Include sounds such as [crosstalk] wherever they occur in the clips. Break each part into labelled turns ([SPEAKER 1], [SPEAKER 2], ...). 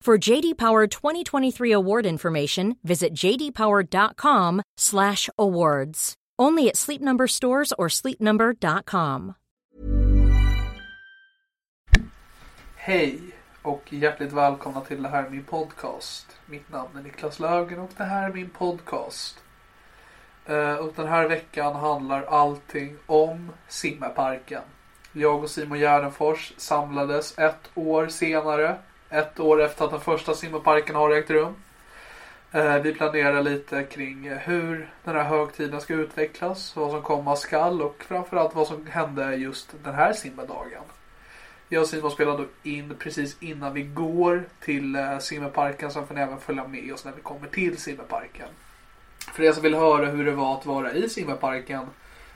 [SPEAKER 1] For JD Power 2023 award information, visit jdpower.com/awards. Only at Sleep Number stores or sleepnumber.com.
[SPEAKER 2] Hej och hjärtligt välkomna till Det här är min podcast. Mitt namn är Niklas Lögen och det här är min podcast. Eh, Och den här veckan handlar allting om simmeparken. Jag och Simon Gärdenfors samlades ett år senare. Ett år efter att den första simmeparken har ägt rum. Eh, Vi planerar lite kring hur den här högtiden ska utvecklas, vad som komma skall och framförallt vad som hände just den här simmedagen. Jag och Simon spelar då in precis innan vi går till eh, simmeparken. Sen får ni även följa med oss när vi kommer till simmeparken. För er som vill höra hur det var att vara i simmeparken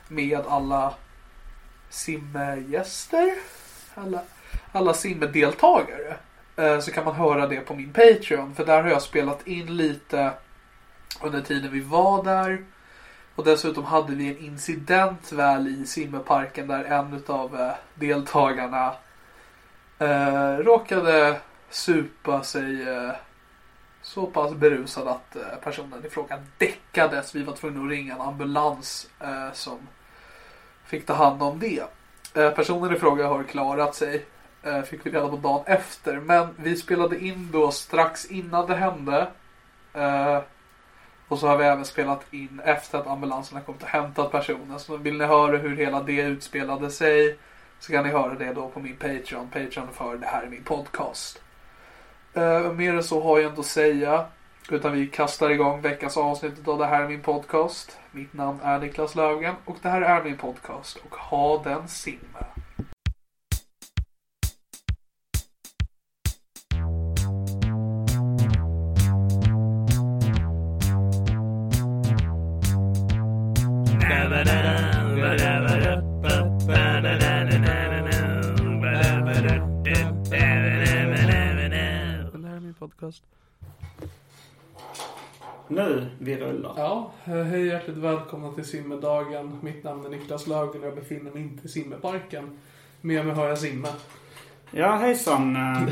[SPEAKER 2] med alla simgäster, alla, alla simdeltagare. eh, Så kan man höra det på min Patreon. För där har jag spelat in lite under tiden vi var där. Och dessutom hade vi en incident väl i simmeparken där en av deltagarna eh, råkade supa sig eh, så pass berusad att eh, personen i fråga däckades. Vi var tvungna att ringa en ambulans eh, som fick ta hand om det. Eh, personen i fråga har klarat sig. Eh, fick vi reda på dagen efter. Men vi spelade in då strax innan det hände. Eh, och så har vi även spelat in efter att ambulansen har kommit och hämtat personen. Så vill ni höra hur hela det utspelade sig så kan ni höra det då på min Patreon. Patreon för det här är min podcast. Uh, mer än så har jag inte att säga. Utan vi kastar igång veckans avsnitt av det här är min podcast. Mitt namn är Niklas Löfgren och det här är min podcast. Och ha den simme. Det här är min podcast.
[SPEAKER 3] Nu vi rullar.
[SPEAKER 2] Ja, eh, hej hjärtligt välkomna till simmedagen. Mitt namn är Niklas Löfgren och jag befinner mig inte i simmeparken. Med mig har jag Simme.
[SPEAKER 3] Ja, hejsan. Eh,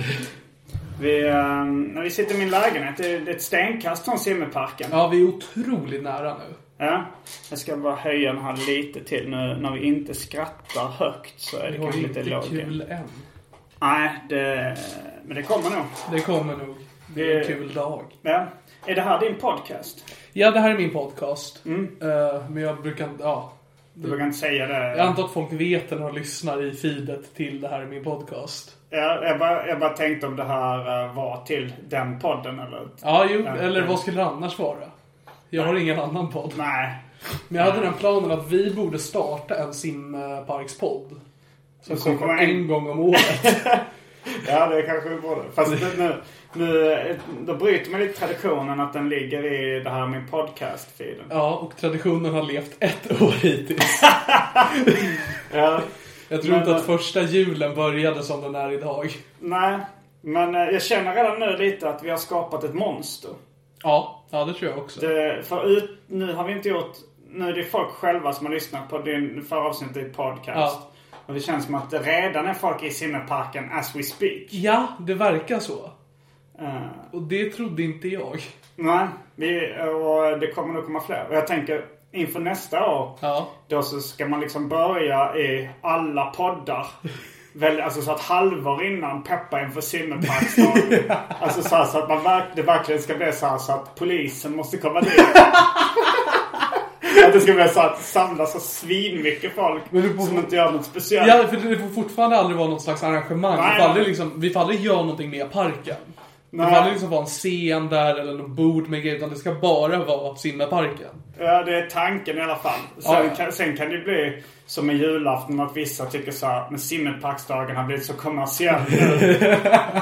[SPEAKER 3] Vi, eh, när vi sitter i min lägenhet. Det är det är ett stenkast från simmeparken.
[SPEAKER 2] Ja, vi är otroligt nära nu.
[SPEAKER 3] Ja. Jag ska bara höja den här lite till nu. När vi inte skrattar högt så är det
[SPEAKER 2] Vi har
[SPEAKER 3] kanske lite
[SPEAKER 2] inte
[SPEAKER 3] lågt.
[SPEAKER 2] kul än.
[SPEAKER 3] Nej, det, men det kommer nog.
[SPEAKER 2] Det kommer nog. Det är en kul dag.
[SPEAKER 3] Ja. Är det här din podcast?
[SPEAKER 2] Ja, det här är min podcast. Eh, men jag brukar inte... Ja.
[SPEAKER 3] Du vågar inte säga det?
[SPEAKER 2] Jag antar att folk vet när de lyssnar i feedet till det här är min podcast.
[SPEAKER 3] Ja, jag, bara, jag bara tänkte om det här eh, var till den podden eller?
[SPEAKER 2] Ja, jo, Eh, eller vad skulle det annars vara? Jag har ingen annan podd.
[SPEAKER 3] Nej.
[SPEAKER 2] Men jag hade den planen att vi borde starta en simparkspodd. Som
[SPEAKER 3] Som
[SPEAKER 2] kommer
[SPEAKER 3] kommer
[SPEAKER 2] en
[SPEAKER 3] en-
[SPEAKER 2] gång om [laughs] året.
[SPEAKER 3] Ja, det kanske vi borde. Fast nu, nu, då bryter man lite traditionen att den ligger i det här min podcast-feeden.
[SPEAKER 2] Ja, och traditionen har levt ett år hittills.
[SPEAKER 3] Ja.
[SPEAKER 2] Jag tror
[SPEAKER 3] Men-
[SPEAKER 2] eh, inte att första julen började som den är idag.
[SPEAKER 3] Nej, Men eh, jag känner redan nu lite att vi har skapat ett monster.
[SPEAKER 2] Ja, ja det tror jag också.
[SPEAKER 3] Det, för ut, nu har vi inte gjort... Nu är det folk själva som har lyssnat på din förra avsnittet i podcast. Och det känns som att det redan är folk i simmerparken as we speak.
[SPEAKER 2] Ja, det verkar så.
[SPEAKER 3] Eh,
[SPEAKER 2] Och det trodde inte jag.
[SPEAKER 3] nej, vi, och det kommer nog komma fler. Och jag tänker inför nästa år.
[SPEAKER 2] Ja.
[SPEAKER 3] Då så ska man liksom börja i alla poddar. Väl, alltså så att halvår innan peppa
[SPEAKER 2] [laughs]
[SPEAKER 3] inför simmerparksdagen. Alltså så, här, så att man verk, det verkligen ska bli så här så att polisen måste
[SPEAKER 2] [laughs]
[SPEAKER 3] komma dit. att det ska bli så att samlas så svinmycket folk
[SPEAKER 2] Men du får-
[SPEAKER 3] som inte gör något speciellt.
[SPEAKER 2] Ja, för det får fortfarande aldrig vara något slags arrangemang.
[SPEAKER 3] Nej,
[SPEAKER 2] vi, får aldrig
[SPEAKER 3] nej.
[SPEAKER 2] liksom, vi får aldrig göra någonting med parken. Det
[SPEAKER 3] Nej.
[SPEAKER 2] får aldrig liksom vara en scen där eller något bord med grejer. Utan det ska bara vara simmeparken.
[SPEAKER 3] Ja, det är tanken i alla fall. Sen,
[SPEAKER 2] Ja, ja.
[SPEAKER 3] Kan, sen kan det bli som med julafton att vissa tycker så här, men simmerparksdagen har blivit så kommersiell
[SPEAKER 2] [laughs]
[SPEAKER 3] nu.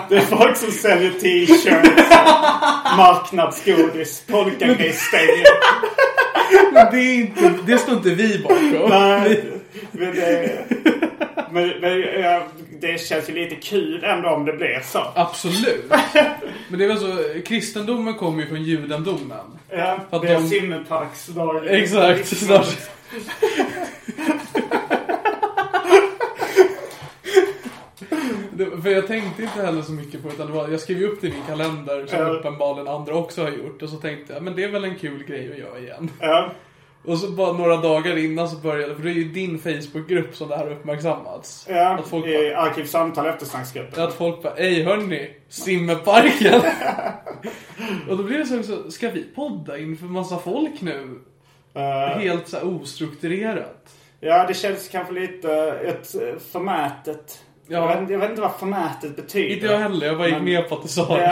[SPEAKER 3] Det är folk som säljer t-shirts, marknadsgodis, polkagrisstänger.
[SPEAKER 2] Det, är inte, det står inte vi bakom.
[SPEAKER 3] Men, det- men, men ja, det känns ju lite kul ändå om det blir så.
[SPEAKER 2] Absolut. Men det är väl så, kristendomen kommer ju från judendomen.
[SPEAKER 3] Ja,
[SPEAKER 2] För att
[SPEAKER 3] det är
[SPEAKER 2] de-
[SPEAKER 3] simmerparksdagen.
[SPEAKER 2] Exakt, snart. Det- För jag tänkte inte heller så mycket på det, utan det var, jag skrev ju upp det i min kalender som
[SPEAKER 3] Ja.
[SPEAKER 2] uppenbarligen andra också har gjort och så tänkte jag men det är väl en kul grej att göra igen.
[SPEAKER 3] Ja,
[SPEAKER 2] Och så bara några dagar innan så började, för det är ju din Facebookgrupp som det här har uppmärksammats.
[SPEAKER 3] ja,
[SPEAKER 2] Att folk
[SPEAKER 3] i
[SPEAKER 2] bara,
[SPEAKER 3] arkivsamtal eftersnacksgruppen.
[SPEAKER 2] att folk bara ej hörni,
[SPEAKER 3] [laughs]
[SPEAKER 2] simmerparken! och då blir det så också, ska vi podda inför massa folk nu?
[SPEAKER 3] Eh,
[SPEAKER 2] Helt så här ostrukturerat.
[SPEAKER 3] Ja, det känns kanske lite eh, ett förmätet.
[SPEAKER 2] Ja.
[SPEAKER 3] Jag, vet, inte- jag vet inte vad förmätet betyder.
[SPEAKER 2] Inte jag heller, jag bara gick
[SPEAKER 3] Men-
[SPEAKER 2] med på att du sa det.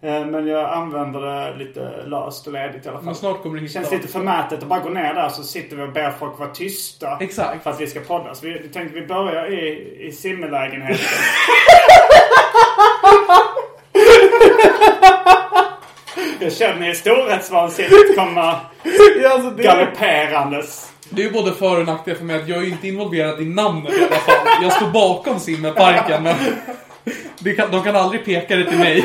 [SPEAKER 3] Ja, eh, men jag använder det lite löst och ledigt i alla fall.
[SPEAKER 2] Men snart kommer du
[SPEAKER 3] det
[SPEAKER 2] hitta
[SPEAKER 3] känns lite förmätet att bara gå ner där så sitter vi och ber folk vara tysta.
[SPEAKER 2] Exakt.
[SPEAKER 3] För att vi ska podda. Så vi vi tänkte vi börjar i,
[SPEAKER 2] [laughs]
[SPEAKER 3] i simmelägenheten. jag känner storhetsvansinnet komma [laughs] alltså, galopperandes.
[SPEAKER 2] Det är ju både för och nackdel för mig att jag är ju inte involverad i namnet i alla fall. Jag står bakom simmerparken men det kan, de kan aldrig peka det till mig.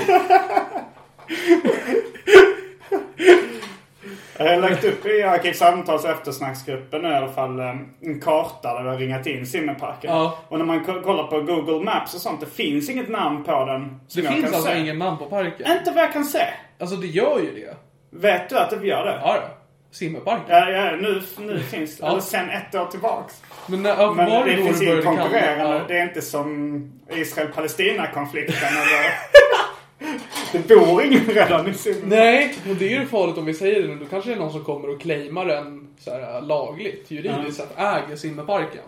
[SPEAKER 3] Jag har lagt upp i Arkivsamtals eftersnacksgruppen nu i alla fall eh, en karta där vi har ringat in simmerparken.
[SPEAKER 2] Ja.
[SPEAKER 3] Och när man ko- kollar på Google Maps och sånt, det finns inget namn på den.
[SPEAKER 2] Det
[SPEAKER 3] som jag
[SPEAKER 2] finns
[SPEAKER 3] kan
[SPEAKER 2] alltså
[SPEAKER 3] se.
[SPEAKER 2] ingen namn på parken.
[SPEAKER 3] Inte vad jag kan se.
[SPEAKER 2] Alltså det gör ju det.
[SPEAKER 3] Vet du att det gör det?
[SPEAKER 2] Ja då. Simmerparken.
[SPEAKER 3] Ja, ja, nu,
[SPEAKER 2] [laughs]
[SPEAKER 3] nu finns det.
[SPEAKER 2] Ja.
[SPEAKER 3] Eller sen ett år tillbaks.
[SPEAKER 2] Men, när, ja,
[SPEAKER 3] Men
[SPEAKER 2] var
[SPEAKER 3] det
[SPEAKER 2] det då
[SPEAKER 3] finns
[SPEAKER 2] du
[SPEAKER 3] inget
[SPEAKER 2] började
[SPEAKER 3] konkurrerande.
[SPEAKER 2] kalla? Ja.
[SPEAKER 3] Det är inte som
[SPEAKER 2] [laughs]
[SPEAKER 3] Israel-Palestina-konflikten eller... Det bor ingen redan i
[SPEAKER 2] [laughs]
[SPEAKER 3] Simmerparken.
[SPEAKER 2] Nej, och Typ, det är ju farligt om vi säger det nu. Då kanske det är någon som kommer och claimar den så här, lagligt, juridiskt, att äger simmerparken.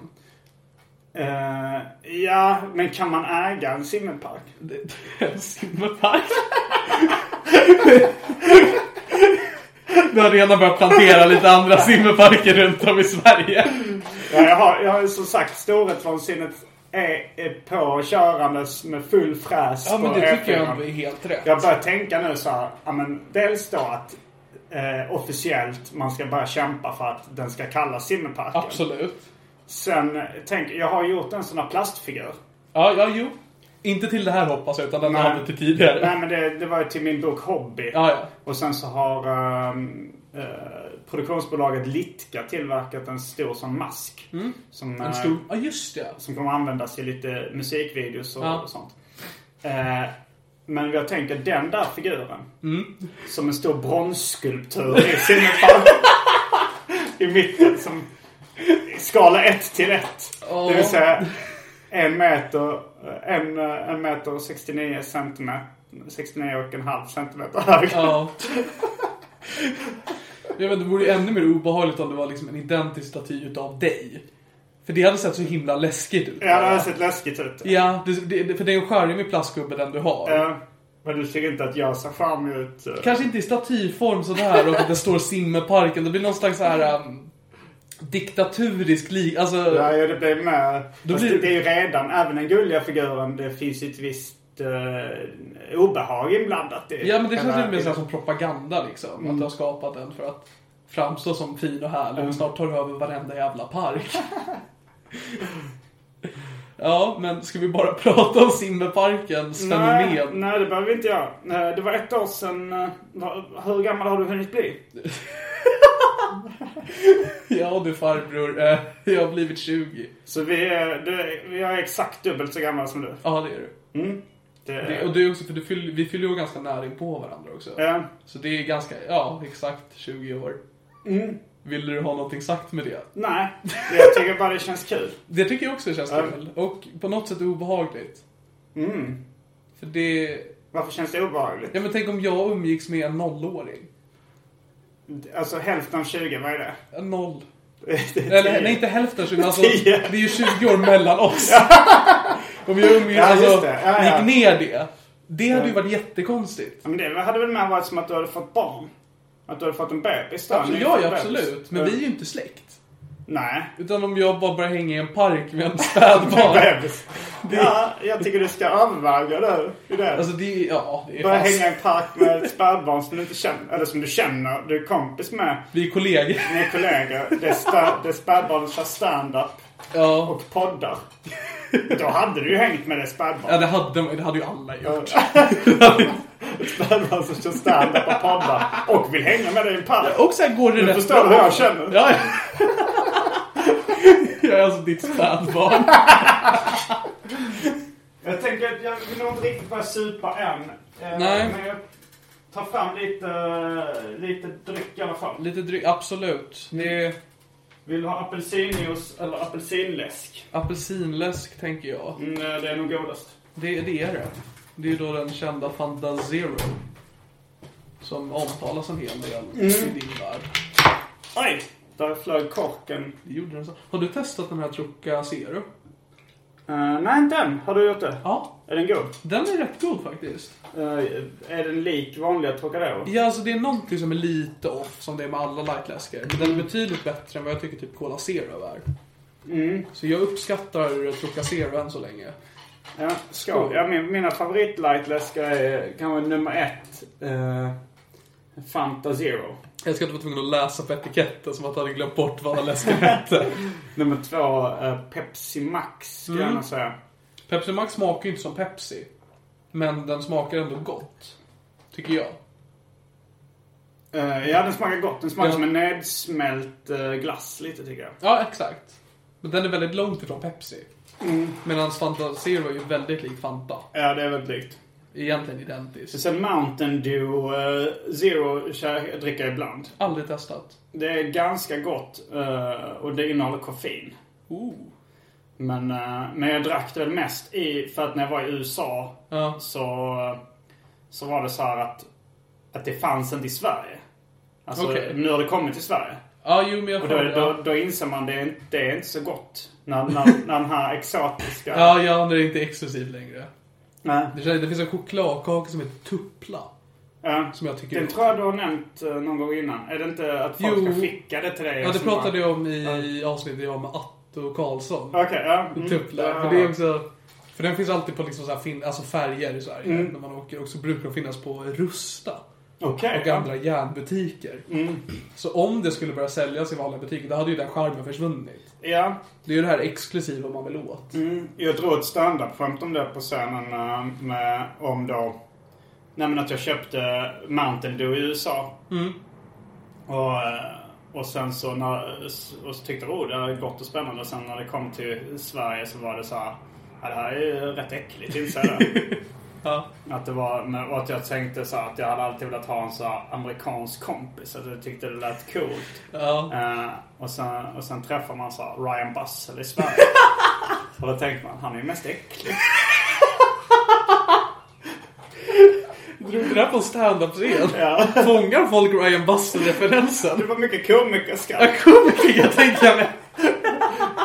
[SPEAKER 3] Eh, ja, men kan man äga en simmerpark?
[SPEAKER 2] Det- det är En [laughs] simmerpark. Du har redan börjat plantera lite andra simmerparker runt om i Sverige.
[SPEAKER 3] Ja, jag, har, jag har ju som sagt storhetsvansinnet är, är på körandes med full fräs
[SPEAKER 2] Ja, men
[SPEAKER 3] på
[SPEAKER 2] det tycker jag
[SPEAKER 3] E4.
[SPEAKER 2] ändå är helt rätt.
[SPEAKER 3] Jag börjar tänka nu så här, ja, men dels då att eh, officiellt man ska börja kämpa för att den ska kallas simmerparken.
[SPEAKER 2] Absolut.
[SPEAKER 3] Sen eh, tänk, jag har gjort en sån här plastfigur.
[SPEAKER 2] Ja, ja, jo. Inte till det här hoppas jag, utan den har
[SPEAKER 3] Nej.
[SPEAKER 2] använt till tidigare.
[SPEAKER 3] Nej men det, det var ju till min bok Hobby.
[SPEAKER 2] Ja, ja.
[SPEAKER 3] Och sen så har ehm, eh, produktionsbolaget Litka tillverkat en stor sån mask. Som, eh,
[SPEAKER 2] Mm. En stor... Ja, just det.
[SPEAKER 3] som kommer användas i lite musikvideos och,
[SPEAKER 2] Ja.
[SPEAKER 3] och sånt. Eh, men jag tänker den där figuren.
[SPEAKER 2] Mm.
[SPEAKER 3] Som en stor bronsskulptur i Simmerfall. I mitten som i skala 1 till 1. Det vill säga en meter, en, eh, en meter och 69 centimeter. 69 och en halv centimeter hög.
[SPEAKER 2] Ja. Jag vet, det vore ju ännu mer obehagligt om det var liksom en identisk staty utav dig. För det hade sett så himla läskigt ut.
[SPEAKER 3] Ja, det har sett läskigt ut.
[SPEAKER 2] Ja, det, det, för det är en charmig plastgubbe den du har.
[SPEAKER 3] Eh, Men du tycker inte att jag ser charmig ut? eh?
[SPEAKER 2] Kanske inte i statyform sådär och att det står simmerparken. Det blir någon slags så här um, diktaturisk li... Alltså,
[SPEAKER 3] Ja, ja, det blir med.
[SPEAKER 2] Då
[SPEAKER 3] Fast
[SPEAKER 2] blir-
[SPEAKER 3] Det, det är ju redan, även den gulliga figuren, det finns ju ett visst eh, obehag inblandat. i-
[SPEAKER 2] ja, men det känns
[SPEAKER 3] eller-
[SPEAKER 2] lite mer så här som propaganda liksom.
[SPEAKER 3] Mm.
[SPEAKER 2] Att du har skapat den för att framstå som
[SPEAKER 3] [laughs]
[SPEAKER 2] fin och härlig. Men snart tar du över varenda jävla park. Ja, men ska vi bara [laughs] prata om simmeparkens
[SPEAKER 3] Nej,
[SPEAKER 2] fenomen?
[SPEAKER 3] nej, det behöver vi inte göra. Eh, Det var ett år sedan... eh, vad- Hur gammal har du hunnit bli?
[SPEAKER 2] Ja du farbror, eh, jag har blivit 20.
[SPEAKER 3] Så vi är, det, jag är exakt dubbelt så gammal som du.
[SPEAKER 2] Ja, det är du.
[SPEAKER 3] Det,
[SPEAKER 2] Det, och du också, för du fyll, vi fyller ju ganska nära in på varandra också.
[SPEAKER 3] eh,
[SPEAKER 2] Så det är ganska, ja, exakt 20 år.
[SPEAKER 3] Mm.
[SPEAKER 2] Vill du ha någonting sagt med det?
[SPEAKER 3] nej, jag tycker bara det känns kul.
[SPEAKER 2] Det tycker jag också känns kul. Och på något sätt obehagligt.
[SPEAKER 3] Mm.
[SPEAKER 2] För det...
[SPEAKER 3] Varför känns det obehagligt?
[SPEAKER 2] Ja men tänk om jag umgicks med en nollåring.
[SPEAKER 3] Alltså hälften av 20, vad
[SPEAKER 2] [laughs]
[SPEAKER 3] är det?
[SPEAKER 2] En noll.
[SPEAKER 3] Det är
[SPEAKER 2] Eller
[SPEAKER 3] tio.
[SPEAKER 2] nej, inte hälften.
[SPEAKER 3] [laughs]
[SPEAKER 2] så- Men alltså, det
[SPEAKER 3] Tio.
[SPEAKER 2] är ju 20 år mellan oss. [laughs] om jag umgicks,
[SPEAKER 3] Ja, just
[SPEAKER 2] alltså,
[SPEAKER 3] det. Ja, ja.
[SPEAKER 2] gick ner det. Det hade ju varit jättekonstigt.
[SPEAKER 3] Ja, Men det hade väl mer varit som att du hade fått barn? Att du hade fått en bebis då?
[SPEAKER 2] Absolut,
[SPEAKER 3] en
[SPEAKER 2] Alltså, ja, ja,
[SPEAKER 3] nyfödd
[SPEAKER 2] absolut.
[SPEAKER 3] bebis.
[SPEAKER 2] Men
[SPEAKER 3] Eh,
[SPEAKER 2] vi är ju inte släkt.
[SPEAKER 3] Nej.
[SPEAKER 2] Utan om jag bara börjar hänga i en park
[SPEAKER 3] [laughs]
[SPEAKER 2] med en spädbarn.
[SPEAKER 3] Bebis. Ja, jag tycker du ska överväga det. i det.
[SPEAKER 2] alltså det är, ja, det är
[SPEAKER 3] Börja
[SPEAKER 2] fast.
[SPEAKER 3] hänga i en park med ett spädbarn som du inte känner, eller som du känner, du är kompis med,
[SPEAKER 2] Vi är kollegor.
[SPEAKER 3] med kollegor. Det är, spä, det är spädbarnet kör stand-up
[SPEAKER 2] Ja.
[SPEAKER 3] och poddar. Då hade du ju hängt med det
[SPEAKER 2] Ja,
[SPEAKER 3] spädbarnet.
[SPEAKER 2] det hade, man- det hade ju alla gjort.
[SPEAKER 3] Spädbarn som kör stand-up och poddar och vill hänga med dig i en park.
[SPEAKER 2] Och sen går det
[SPEAKER 3] Du
[SPEAKER 2] rätt
[SPEAKER 3] förstår
[SPEAKER 2] bra.
[SPEAKER 3] hur jag känner. [laughs]
[SPEAKER 2] Ja. Jag är alltså ditt spädbarn.
[SPEAKER 3] Jag tänker att jag vill nog inte riktigt börja supa än. Eh,
[SPEAKER 2] Nej.
[SPEAKER 3] Men jag tar fram lite, eh, lite dryck i alla fall.
[SPEAKER 2] Lite dryg, absolut. Det är
[SPEAKER 3] Vill du ha apelsinjuice eller apelsinläsk?
[SPEAKER 2] apelsinläsk tänker jag.
[SPEAKER 3] Mm, eh, det är nog godast.
[SPEAKER 2] Det, det är det. Det är ju då den kända Fanta Zero. Som omtalas en hel del
[SPEAKER 3] Mm.
[SPEAKER 2] i din värld.
[SPEAKER 3] Oj! Där flög korken.
[SPEAKER 2] Det gjorde den så. Har du testat den här Troca Zero?
[SPEAKER 3] Eh, nej, inte än. Har du gjort det?
[SPEAKER 2] Ja.
[SPEAKER 3] Är den god?
[SPEAKER 2] Den är rätt god faktiskt.
[SPEAKER 3] Eh, är den lik vanliga Trocadero?
[SPEAKER 2] Ja, alltså det är någonting som är lite off som det är med alla lightläskare. Men den är betydligt bättre än vad jag tycker typ Cola Zero är.
[SPEAKER 3] Mm.
[SPEAKER 2] Så jag uppskattar Troca Zero än så länge.
[SPEAKER 3] Ja, skål. Ja, min, mina favoritlightläskar är kanske nummer ett. Uh, Fanta Zero.
[SPEAKER 2] Jag ska inte vara tvungen att läsa på etiketten som att jag hade glömt bort vad alla läsken
[SPEAKER 3] [laughs]
[SPEAKER 2] hette.
[SPEAKER 3] Nummer två, eh, Pepsi Max, skulle jag nog säga.
[SPEAKER 2] Pepsi Max smakar ju inte som Pepsi. Men den smakar ändå gott. Tycker jag.
[SPEAKER 3] Eh, ja, den smakar gott. Den smakar
[SPEAKER 2] Ja.
[SPEAKER 3] som en nedsmält eh, glass lite, tycker jag.
[SPEAKER 2] Ja, exakt. Men den är väldigt långt ifrån Pepsi.
[SPEAKER 3] Mm.
[SPEAKER 2] Medan Fanta Zero är ju väldigt lik Fanta.
[SPEAKER 3] Ja, det är väldigt likt.
[SPEAKER 2] Egentligen identisk.
[SPEAKER 3] Sen Mountain Dew eh, Zero kör- dricker jag ibland.
[SPEAKER 2] Aldrig testat.
[SPEAKER 3] Det är ganska gott eh, och det innehåller koffein.
[SPEAKER 2] Ooh.
[SPEAKER 3] Men, eh, men jag drack det mest i, för att när jag var i USA
[SPEAKER 2] Ja.
[SPEAKER 3] så, så var det så här att, att det fanns inte i Sverige. Alltså,
[SPEAKER 2] Okej.
[SPEAKER 3] nu har det kommit till Sverige.
[SPEAKER 2] Ja, jo men jag
[SPEAKER 3] Och
[SPEAKER 2] får...
[SPEAKER 3] då,
[SPEAKER 2] ja.
[SPEAKER 3] då, då inser man det, är inte- det är inte så gott.
[SPEAKER 2] [laughs]
[SPEAKER 3] När, när, när den här exotiska...
[SPEAKER 2] Ja, ja, nu är det inte exklusiv längre.
[SPEAKER 3] Nej.
[SPEAKER 2] Det, känns- det finns en chokladkaka som heter Tuppla.
[SPEAKER 3] Ja.
[SPEAKER 2] Som jag tycker
[SPEAKER 3] Den tror jag du har nämnt eh, någon gång innan. Är det inte att folk
[SPEAKER 2] Jo.
[SPEAKER 3] ska skicka det till dig?
[SPEAKER 2] Ja, det
[SPEAKER 3] som bara-
[SPEAKER 2] pratade jag om i avsnittet jag har med Atte och Karlsson.
[SPEAKER 3] Okej, ja. Mm.
[SPEAKER 2] Tuppla.
[SPEAKER 3] Ja.
[SPEAKER 2] För det är också... För den finns alltid på liksom så här fin, alltså färger i Sverige
[SPEAKER 3] Mm.
[SPEAKER 2] när man åker. Och så brukar de finnas på Rusta
[SPEAKER 3] Okej.
[SPEAKER 2] och andra järnbutiker.
[SPEAKER 3] Mm.
[SPEAKER 2] Så om det skulle börja säljas i vanliga butiker, då hade ju den charmen försvunnit.
[SPEAKER 3] Ja.
[SPEAKER 2] Det är ju det här exklusiva man vill åt.
[SPEAKER 3] Mm. Jag drog ett standup-skämt om det på scenen eh, med, om då... Nej men att jag köpte Mountain Dew i USA. Och, eh, och sen så, när, och så tyckte jag oh, det här är gott och spännande. Och sen när det kom till Sverige så var det så här... Ja, det här är ju rätt äckligt, inser jag det."
[SPEAKER 2] Ja.
[SPEAKER 3] Att det var, men- och att jag tänkte så här, att jag hade alltid velat ha en så här amerikansk kompis. Att jag tyckte det lät coolt.
[SPEAKER 2] Ja.
[SPEAKER 3] Eh, och, sen, och sen träffar man så här Ryan Bussell i [laughs] Sverige. och då tänker man, han är ju mest äcklig.
[SPEAKER 2] Drog du det här på en standup-scen? Fångar folk Ryan Buster-referensen?
[SPEAKER 3] Det var mycket komikerskatt.
[SPEAKER 2] Komiker tänker jag mig.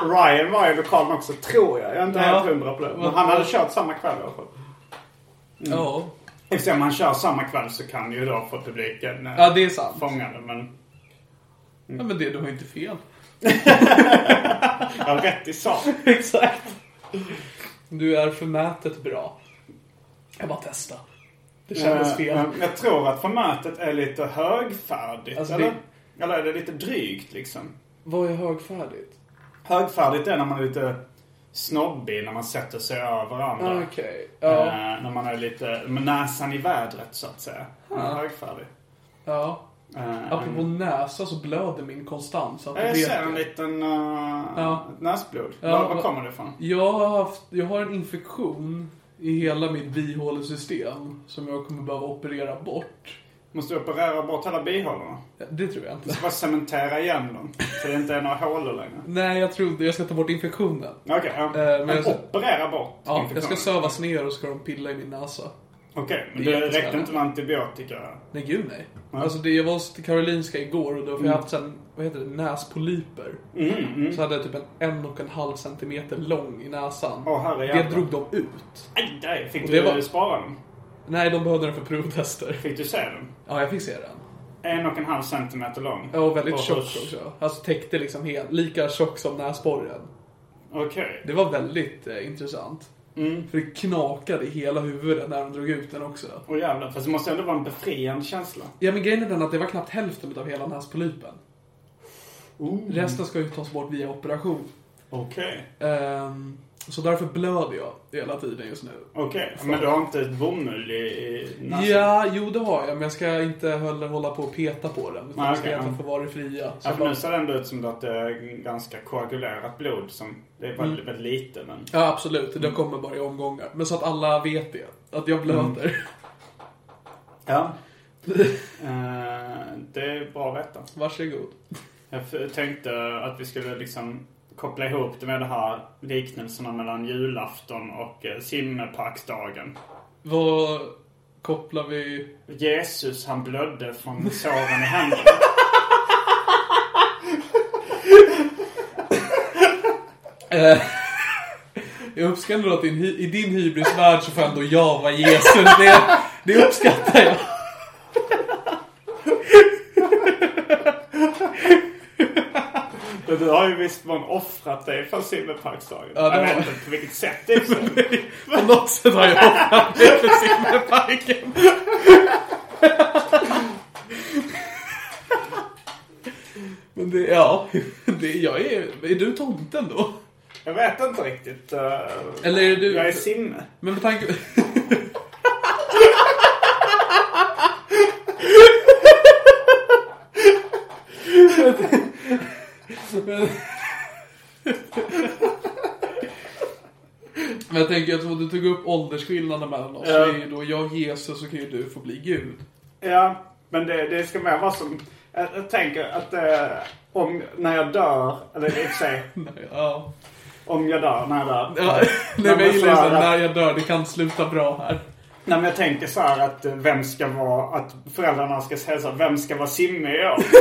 [SPEAKER 3] Ryan var i lokalen också, tror jag. Jag är inte
[SPEAKER 2] Ja.
[SPEAKER 3] helt hundra på det. Men han hade kört samma kväll i alla fall.
[SPEAKER 2] Ja.
[SPEAKER 3] Eftersom han kör samma kväll så kan ju då få publiken eh,
[SPEAKER 2] ja, det är sant.
[SPEAKER 3] fånga det. Men
[SPEAKER 2] Ja, men det, du har ju inte fel.
[SPEAKER 3] jag har rätt i [laughs] sak.
[SPEAKER 2] [laughs] Exakt. Du är förmätet bra. Jag bara testa. Det kändes fel.
[SPEAKER 3] Men jag tror att formatet är lite högfärdigt,
[SPEAKER 2] Alltså,
[SPEAKER 3] eller? Eller är det lite drygt liksom?
[SPEAKER 2] Vad är högfärdigt?
[SPEAKER 3] Högfärdigt är när man är lite snobbig när man sätter sig över andra.
[SPEAKER 2] Okej. Ja.
[SPEAKER 3] Eh, när man är lite med näsan i vädret så att säga. Man är högfärdig.
[SPEAKER 2] ja.
[SPEAKER 3] Eh,
[SPEAKER 2] Apropå näsa så blöder min konstant. Så att
[SPEAKER 3] jag
[SPEAKER 2] du vet
[SPEAKER 3] ser en
[SPEAKER 2] det.
[SPEAKER 3] liten eh,
[SPEAKER 2] Ja.
[SPEAKER 3] ett näsblod.
[SPEAKER 2] Ja,
[SPEAKER 3] var, var
[SPEAKER 2] vad-
[SPEAKER 3] kommer det ifrån?
[SPEAKER 2] Jag har, haft, jag har en infektion i hela mitt bihålesystem som jag kommer behöva operera bort.
[SPEAKER 3] Måste du operera bort hela bihålorna?
[SPEAKER 2] Det tror jag [laughs] inte.
[SPEAKER 3] Bara cementera igen dem. Så det inte är några hålor längre.
[SPEAKER 2] Nej, jag trodde jag ska ta bort infektionen.
[SPEAKER 3] Okej, ja.
[SPEAKER 2] Eh, men
[SPEAKER 3] men
[SPEAKER 2] jag ser-
[SPEAKER 3] operera bort
[SPEAKER 2] Ja, jag ska
[SPEAKER 3] infektionen.
[SPEAKER 2] sövas ner och ska de pilla i min näsa.
[SPEAKER 3] Okej, men
[SPEAKER 2] Det är
[SPEAKER 3] det räckte
[SPEAKER 2] jättespännande.
[SPEAKER 3] inte med antibiotika?
[SPEAKER 2] Nej, gud nej. Alltså, det, jag var hos Karolinska igår och då
[SPEAKER 3] Mm.
[SPEAKER 2] har jag haft sen, vad heter det, näspolyper. Så hade jag typ en en och en halv centimeter lång i näsan.
[SPEAKER 3] Åh, herrejävlar.
[SPEAKER 2] det drog de ut.
[SPEAKER 3] Aj, där fick
[SPEAKER 2] Och
[SPEAKER 3] du
[SPEAKER 2] det var-
[SPEAKER 3] spara dem?
[SPEAKER 2] Nej, de behövde den för provtester.
[SPEAKER 3] Fick du se dem?
[SPEAKER 2] Ja, jag fick se den.
[SPEAKER 3] En och en halv centimeter lång?
[SPEAKER 2] Jag var väldigt
[SPEAKER 3] Och-
[SPEAKER 2] tjock också. Alltså täckte liksom helt, lika tjock som näsborren.
[SPEAKER 3] Okej.
[SPEAKER 2] Det var väldigt eh, intressant.
[SPEAKER 3] Mm.
[SPEAKER 2] För det knakade i hela huvudet när de drog ut den också.
[SPEAKER 3] Åh jävlar, fast det måste ändå vara en befriande känsla.
[SPEAKER 2] Ja men grejen är den att det var knappt hälften av hela näspolypen.
[SPEAKER 3] Mm.
[SPEAKER 2] Resten ska ju tas bort via operation.
[SPEAKER 3] Okej.
[SPEAKER 2] Ehm, så därför blöder jag hela tiden just nu.
[SPEAKER 3] Okej, men du har inte ett bomull i, i näsan?
[SPEAKER 2] Ja, jo det har jag, men jag ska inte heller hålla på och peta på den. Utan
[SPEAKER 3] Nej,
[SPEAKER 2] jag ska
[SPEAKER 3] okej,
[SPEAKER 2] låta
[SPEAKER 3] ja.
[SPEAKER 2] den få vara i fria. Så
[SPEAKER 3] Ja,
[SPEAKER 2] jag
[SPEAKER 3] för nu
[SPEAKER 2] bara,
[SPEAKER 3] ser det ändå ut som att det är ganska koagulerat blod. Som, det är
[SPEAKER 2] Mm.
[SPEAKER 3] väldigt, väldigt lite, men...
[SPEAKER 2] ja, absolut.
[SPEAKER 3] Mm.
[SPEAKER 2] Det kommer bara i omgångar. Men så att alla vet det. Att jag blöder. [laughs]
[SPEAKER 3] Ja. Eh, det är bra att veta.
[SPEAKER 2] Varsågod.
[SPEAKER 3] Jag f- tänkte att vi skulle liksom koppla ihop det med de här liknelserna mellan julafton och eh, simmepacksdagen.
[SPEAKER 2] Vad kopplar vi
[SPEAKER 3] Jesus han blödde från såren i handen.
[SPEAKER 2] [laughs] Jag uppskattar att din, hy- i din hybrisvärld så får ändå jag vara Jesus. Det, det uppskattar jag.
[SPEAKER 3] Men Du har ju visst man offrat dig för simmepacksdagen.
[SPEAKER 2] Ja, det har
[SPEAKER 3] jag vet
[SPEAKER 2] jag.
[SPEAKER 3] inte på vilket sätt det är så.
[SPEAKER 2] På något sätt har jag offrat mig för Simmerparken. Men det, ja. [laughs] Det, jag är, är du tomten då?
[SPEAKER 3] Jag vet inte riktigt. eh,
[SPEAKER 2] Eller är du...
[SPEAKER 3] Jag är simme.
[SPEAKER 2] Men med tanke... Men- Men jag tänker att du tog upp åldersskillnaden mellan oss. Det är ju då jag Jesus så kan ju du få bli Gud.
[SPEAKER 3] Ja, men det, det ska mer vara som... Jag, jag tänker att eh, om, när jag dör, eller i och för sig,
[SPEAKER 2] Ja.
[SPEAKER 3] om jag dör, när jag dör.
[SPEAKER 2] ja. Nej, men jag gillar ju såhär, när jag dör, det kan sluta bra här.
[SPEAKER 3] Nej men jag tänker så här att eh, vem ska vara, att föräldrarna ska säga så här, vem ska vara simme i år? [laughs]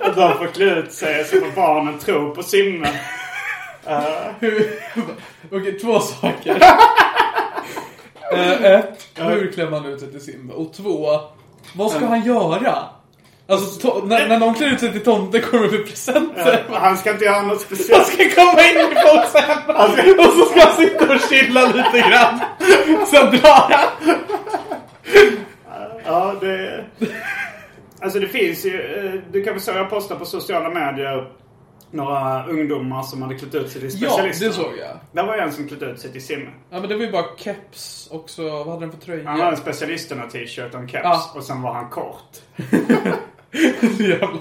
[SPEAKER 3] Att de får klä ut sig så får barnen tro på simme.
[SPEAKER 2] Hur- Okej, två
[SPEAKER 3] [laughs]
[SPEAKER 2] saker. Eh, ett, hur klär man ut sig till Simba? Och två, vad ska han göra? Alltså, to- när, när någon klär ut sig till tomte kommer det presenter.
[SPEAKER 3] Han ska inte göra något
[SPEAKER 2] Han
[SPEAKER 3] speciellt.
[SPEAKER 2] ska komma in i folks hemma och så ska han sitta och chilla lite grann. Sen drar han.
[SPEAKER 3] Ja, det... Alltså det finns ju, eh, du kan väl så jag postade på sociala medier några ungdomar som hade klätt ut sig till
[SPEAKER 2] Ja,
[SPEAKER 3] specialister.
[SPEAKER 2] det såg jag.
[SPEAKER 3] Där var en som klätt ut sig till simme.
[SPEAKER 2] Ja, men det var ju bara keps också. Vad hade den för tröja?
[SPEAKER 3] Han
[SPEAKER 2] [laughs]
[SPEAKER 3] hade en specialisterna t-shirt och en keps
[SPEAKER 2] Ja.
[SPEAKER 3] och sen var han kort.
[SPEAKER 2] Jävlar.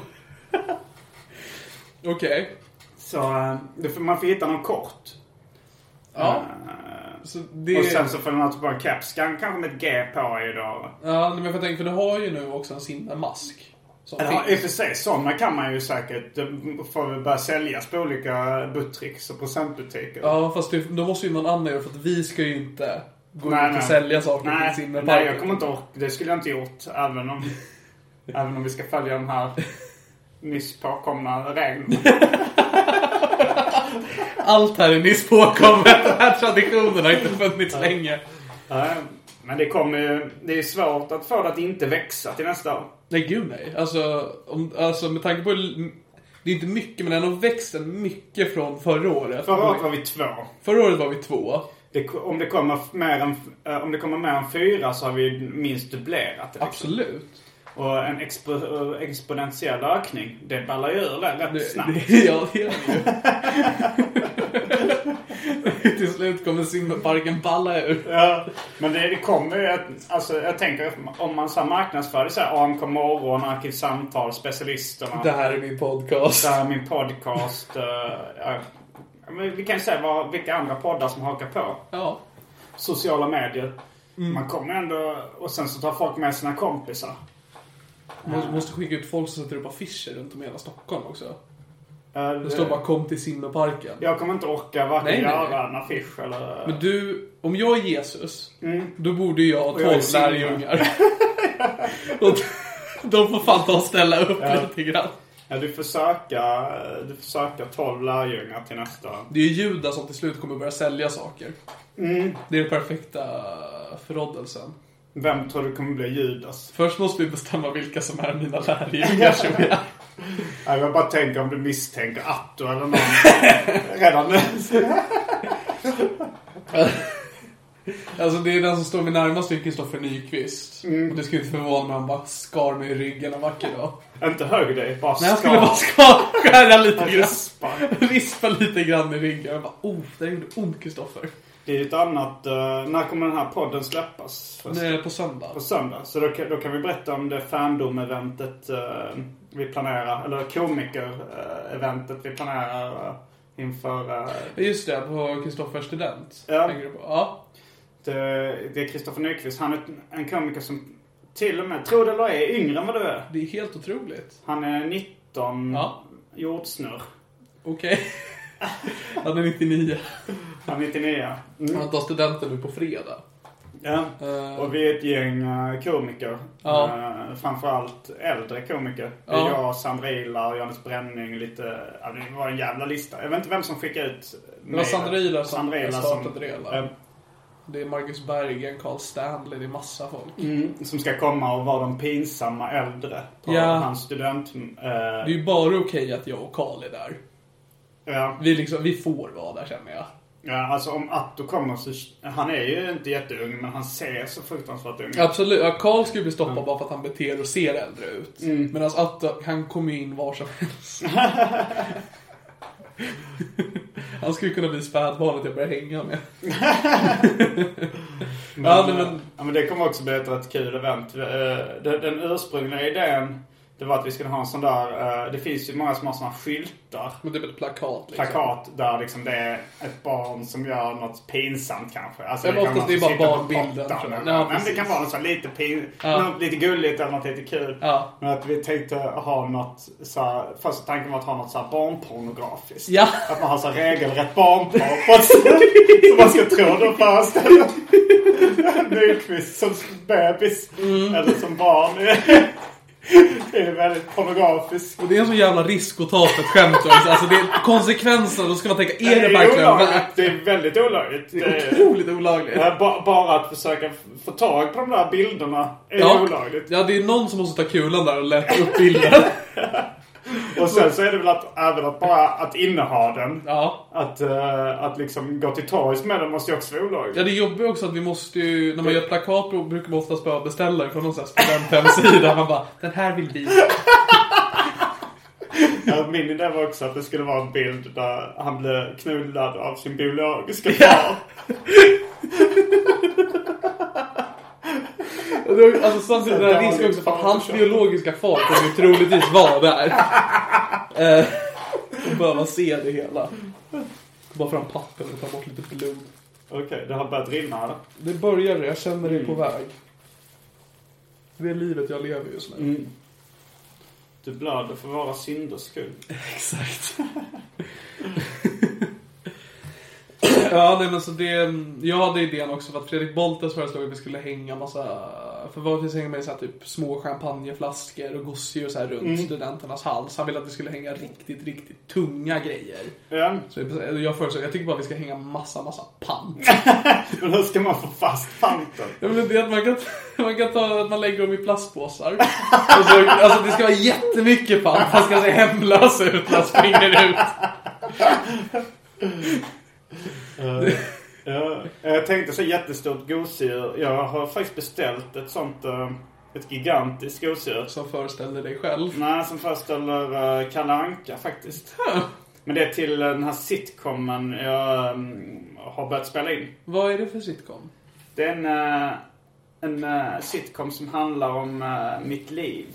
[SPEAKER 2] Okej.
[SPEAKER 3] Så eh, det får, man får hitta någon kort.
[SPEAKER 2] Ja. Så det...
[SPEAKER 3] Eh, Och sen så får man typ ha bara en keps, kan- kanske med ett G på i då.
[SPEAKER 2] Ja, men för jag tänker, för du har ju nu också en simmask. Som
[SPEAKER 3] Ja, i och
[SPEAKER 2] finns.
[SPEAKER 3] för sig, sådana kan man ju säkert, eh, får väl börja säljas på olika Buttricks och procentbutiker.
[SPEAKER 2] Ja, fast det, då måste ju någon annan göra för att vi ska ju inte gå
[SPEAKER 3] Nej,
[SPEAKER 2] ut
[SPEAKER 3] nej.
[SPEAKER 2] och sälja saker till
[SPEAKER 3] Nej,
[SPEAKER 2] simmerparken.
[SPEAKER 3] nej, jag kommer inte orka. Det skulle jag inte gjort.
[SPEAKER 2] [laughs]
[SPEAKER 3] Även om, även om vi ska följa de här nyss
[SPEAKER 2] [laughs]
[SPEAKER 3] påkomna reglerna.
[SPEAKER 2] Allt här är nyss påkommet. Den här traditionen har inte funnits länge.
[SPEAKER 3] Nej, Men det kommer ju, det är svårt att få det att inte växa till nästa år.
[SPEAKER 2] Nej, gud nej. Alltså, om, alltså med tanke på... hur- Det är inte mycket, men den har växt en mycket från förra året.
[SPEAKER 3] Förra året var vi två.
[SPEAKER 2] Förra året var vi två.
[SPEAKER 3] Det, om, det kommer mer än, eh, om det kommer mer än fyra så har vi minst dubblerat det. liksom.
[SPEAKER 2] Absolut.
[SPEAKER 3] Och en expo- eh, exponentiell ökning, det ballar ju ur det rätt snabbt.
[SPEAKER 2] Det, ja, det gör det
[SPEAKER 3] [laughs]
[SPEAKER 2] ju. Till slut kommer simparken balla ur.
[SPEAKER 3] Ja, men det, det kommer ju ett, alltså jag tänker om man så här marknadsför det så här AMK morgon, Arkivsamtal, specialisterna.
[SPEAKER 2] Det här är min podcast.
[SPEAKER 3] Det här är min podcast. eh, ja. Men vi kan ju säga vad, vilka andra poddar som hakar på.
[SPEAKER 2] Ja.
[SPEAKER 3] Sociala medier.
[SPEAKER 2] Mm.
[SPEAKER 3] Man kommer ändå, och sen så tar folk med sina kompisar.
[SPEAKER 2] Man måste skicka ut folk som sätter upp affischer runt om i hela Stockholm också.
[SPEAKER 3] Eh,
[SPEAKER 2] Det står bara kom till simmeparken.
[SPEAKER 3] Jag kommer inte orka varken
[SPEAKER 2] Nej, nej,
[SPEAKER 3] göra
[SPEAKER 2] nej.
[SPEAKER 3] en affisch eller...
[SPEAKER 2] Men du, om jag är Jesus, då borde jag ha
[SPEAKER 3] Mm. jag är
[SPEAKER 2] tolv lärjungar. [laughs] Och de får fan ta och ställa upp lite grann.
[SPEAKER 3] Ja, du får söka, du får söka 12 lärjungar till nästa.
[SPEAKER 2] Det är ju judar som till slut kommer börja sälja saker.
[SPEAKER 3] Mm.
[SPEAKER 2] Det är den perfekta förrådelsen.
[SPEAKER 3] Vem tror du kommer bli Judas?
[SPEAKER 2] Först måste vi bestämma vilka som är
[SPEAKER 3] [laughs]
[SPEAKER 2] mina lärjungar som jag
[SPEAKER 3] Ja, Jag bara tänker om du misstänker Atto eller någon [laughs] redan nu.
[SPEAKER 2] Alltså det är den som står mig närmast, det är Kristoffer Nyqvist.
[SPEAKER 3] Mm.
[SPEAKER 2] Och det skulle inte förvåna mig om han bara skar mig i ryggen en vacker dag.
[SPEAKER 3] Inte hög dig, bara
[SPEAKER 2] Nej, jag
[SPEAKER 3] ska-
[SPEAKER 2] skulle bara ska skära lite
[SPEAKER 3] Rispa.
[SPEAKER 2] grann. Rispa lite grann i ryggen. Jag bara, oh, det gjorde ont Kristoffer.
[SPEAKER 3] Det är ju ett annat... eh, när kommer den här podden släppas? förresten?
[SPEAKER 2] Nej, På söndag.
[SPEAKER 3] På söndag. Så då, kan- då kan vi berätta om det fandom-eventet eh, vi planerar. Eller komiker-eventet vi planerar eh, inför... eh,
[SPEAKER 2] Just det, på Kristoffers student.
[SPEAKER 3] Ja.
[SPEAKER 2] Tänker du på? Ja.
[SPEAKER 3] det, det är Kristoffer Nyqvist. Han är en komiker som till och med, tror det eller ej, är yngre än vad du är.
[SPEAKER 2] Det är helt otroligt.
[SPEAKER 3] Han är 19
[SPEAKER 2] Ja.
[SPEAKER 3] jordsnurr.
[SPEAKER 2] Okej. [laughs] Han är 99.
[SPEAKER 3] Han är 99. Mm.
[SPEAKER 2] Han tar studenten nu på fredag.
[SPEAKER 3] Ja.
[SPEAKER 2] Eh.
[SPEAKER 3] Och vi är ett gäng eh, komiker.
[SPEAKER 2] Ja.
[SPEAKER 3] Eh, Framförallt äldre komiker. Det är
[SPEAKER 2] Ja.
[SPEAKER 3] Jag, Sandra Ilar, Johannes Bränning, lite... Ja, det var en jävla lista. Jag vet inte vem som skickade ut
[SPEAKER 2] Det var Sandra Ilar som
[SPEAKER 3] Sandra Ilar
[SPEAKER 2] startade det hela.
[SPEAKER 3] eh,
[SPEAKER 2] Det är Marcus Berggren, Carl Stanley, det är massa folk.
[SPEAKER 3] som ska komma och vara de pinsamma äldre på
[SPEAKER 2] Mm. Ja.
[SPEAKER 3] hans student... eh,
[SPEAKER 2] Det är ju bara okej att jag och Carl är där.
[SPEAKER 3] ja.
[SPEAKER 2] Vi, liksom, vi får vara där känner jag.
[SPEAKER 3] Ja, alltså om Atto kommer så... Han är ju inte jätteung, men han ser så fruktansvärt ung ut.
[SPEAKER 2] Absolut, ja, Carl skulle bli stoppad bara för att han beter och ser äldre ut. Medan Atta, eh, han kommer ju in var som helst. han skulle kunna bli spädbarnet jag börjar hänga [laughs] med. ja, nej, men,
[SPEAKER 3] Ja, men det kommer också bli ett rätt kul event. Eh, Den den ursprungliga idén, det var att vi skulle ha en sån där... eh, Det finns ju många som har såna här skyltar.
[SPEAKER 2] men det är väl ett plakat liksom.
[SPEAKER 3] Plakat där liksom det är ett barn som gör något pinsamt kanske. Alltså,
[SPEAKER 2] Ja, men
[SPEAKER 3] kan
[SPEAKER 2] oftast
[SPEAKER 3] vara någon
[SPEAKER 2] det är
[SPEAKER 3] som
[SPEAKER 2] bara
[SPEAKER 3] sitter på
[SPEAKER 2] barnbilden,
[SPEAKER 3] pottan
[SPEAKER 2] tror jag.
[SPEAKER 3] eller-
[SPEAKER 2] Ja,
[SPEAKER 3] Nej, men det
[SPEAKER 2] precis.
[SPEAKER 3] kan vara något så här lite pin...
[SPEAKER 2] Ja.
[SPEAKER 3] något lite gulligt eller något lite kul.
[SPEAKER 2] Ja.
[SPEAKER 3] Men att vi tänkte ha något så här, Första tanken var att ha något så här barnpornografiskt.
[SPEAKER 2] Ja.
[SPEAKER 3] Att man har så här regelrätt barnporr på
[SPEAKER 2] [laughs]
[SPEAKER 3] ett sätt som man ska tro då föreställer Nyqvist som bebis.
[SPEAKER 2] Mm.
[SPEAKER 3] Eller som barn. Det är väldigt pornografiskt.
[SPEAKER 2] Och det är en så jävla risk att ta för ett skämt. Alltså, alltså, det är konsekvenserna, då ska man tänka, är det verkligen värt?
[SPEAKER 3] Det är väldigt olagligt.
[SPEAKER 2] Det
[SPEAKER 3] Det
[SPEAKER 2] är
[SPEAKER 3] är-
[SPEAKER 2] otroligt olagligt.
[SPEAKER 3] Ja, ba- Bara att försöka f- få tag på de där bilderna är olagligt.
[SPEAKER 2] ja, det är någon som måste ta kulan där och leta upp [laughs] bilden.
[SPEAKER 3] Och sen så är det väl att, även att bara att inneha den.
[SPEAKER 2] Ja.
[SPEAKER 3] Att, eh, att liksom gå till torgs med den måste ju också vara olagligt.
[SPEAKER 2] Ja, det jobbiga är också att vi måste ju, när man gör plakat då brukar man oftast behöva beställa från någon sån här studenthemsida. Man bara, den här vill vi.
[SPEAKER 3] Ja, Min idé var också att det skulle vara en bild där han blev knullad av sin biologiska far.
[SPEAKER 2] Ja. Och då- Alltså samtidigt är det en risk också för att hans biologiska far kommer ju troligtvis vara [laughs] där. Eh, och behöva se det hela. Bara fram papper och ta bort lite blod.
[SPEAKER 3] Okej, det har börjat rinna här.
[SPEAKER 2] Det börjar det, jag känner det på väg. Det är livet jag lever just nu.
[SPEAKER 3] Du blöder för våra synders skull.
[SPEAKER 2] Exakt. [laughs] ja, nej men så det... Jag hade idén också för att Fredrik Boltes föreslog att vi skulle hänga massa... För vanligtvis hänger man ju så här typ små champagneflaskor och gosedjur så här runt studenternas hals. Han ville att vi skulle hänga riktigt, riktigt tunga grejer.
[SPEAKER 3] Ja, [laughs]
[SPEAKER 2] Så jag- jag föreslog, jag tycker bara vi ska hänga massa, massa pant.
[SPEAKER 3] men hur ska man få fast panten?
[SPEAKER 2] Jag vill inte att man kan, man kan ta att man lägger dem i plastpåsar. Och så, alltså det ska vara jättemycket pant. Han ska se hemlös ut när han springer ut.
[SPEAKER 3] eh, Ja, jag tänkte så jättestort gosedjur. Jag har faktiskt beställt ett sånt eh, Ett gigantiskt gosedjur.
[SPEAKER 2] Som föreställde dig själv.
[SPEAKER 3] Nej, som föreställer uh, Kalle Anka faktiskt. Men det är till eh, den här sitcomen jag mm, har börjat spela in.
[SPEAKER 2] Vad är det för sitcom?
[SPEAKER 3] Det är en, eh, en eh, sitcom som handlar om eh, mitt liv.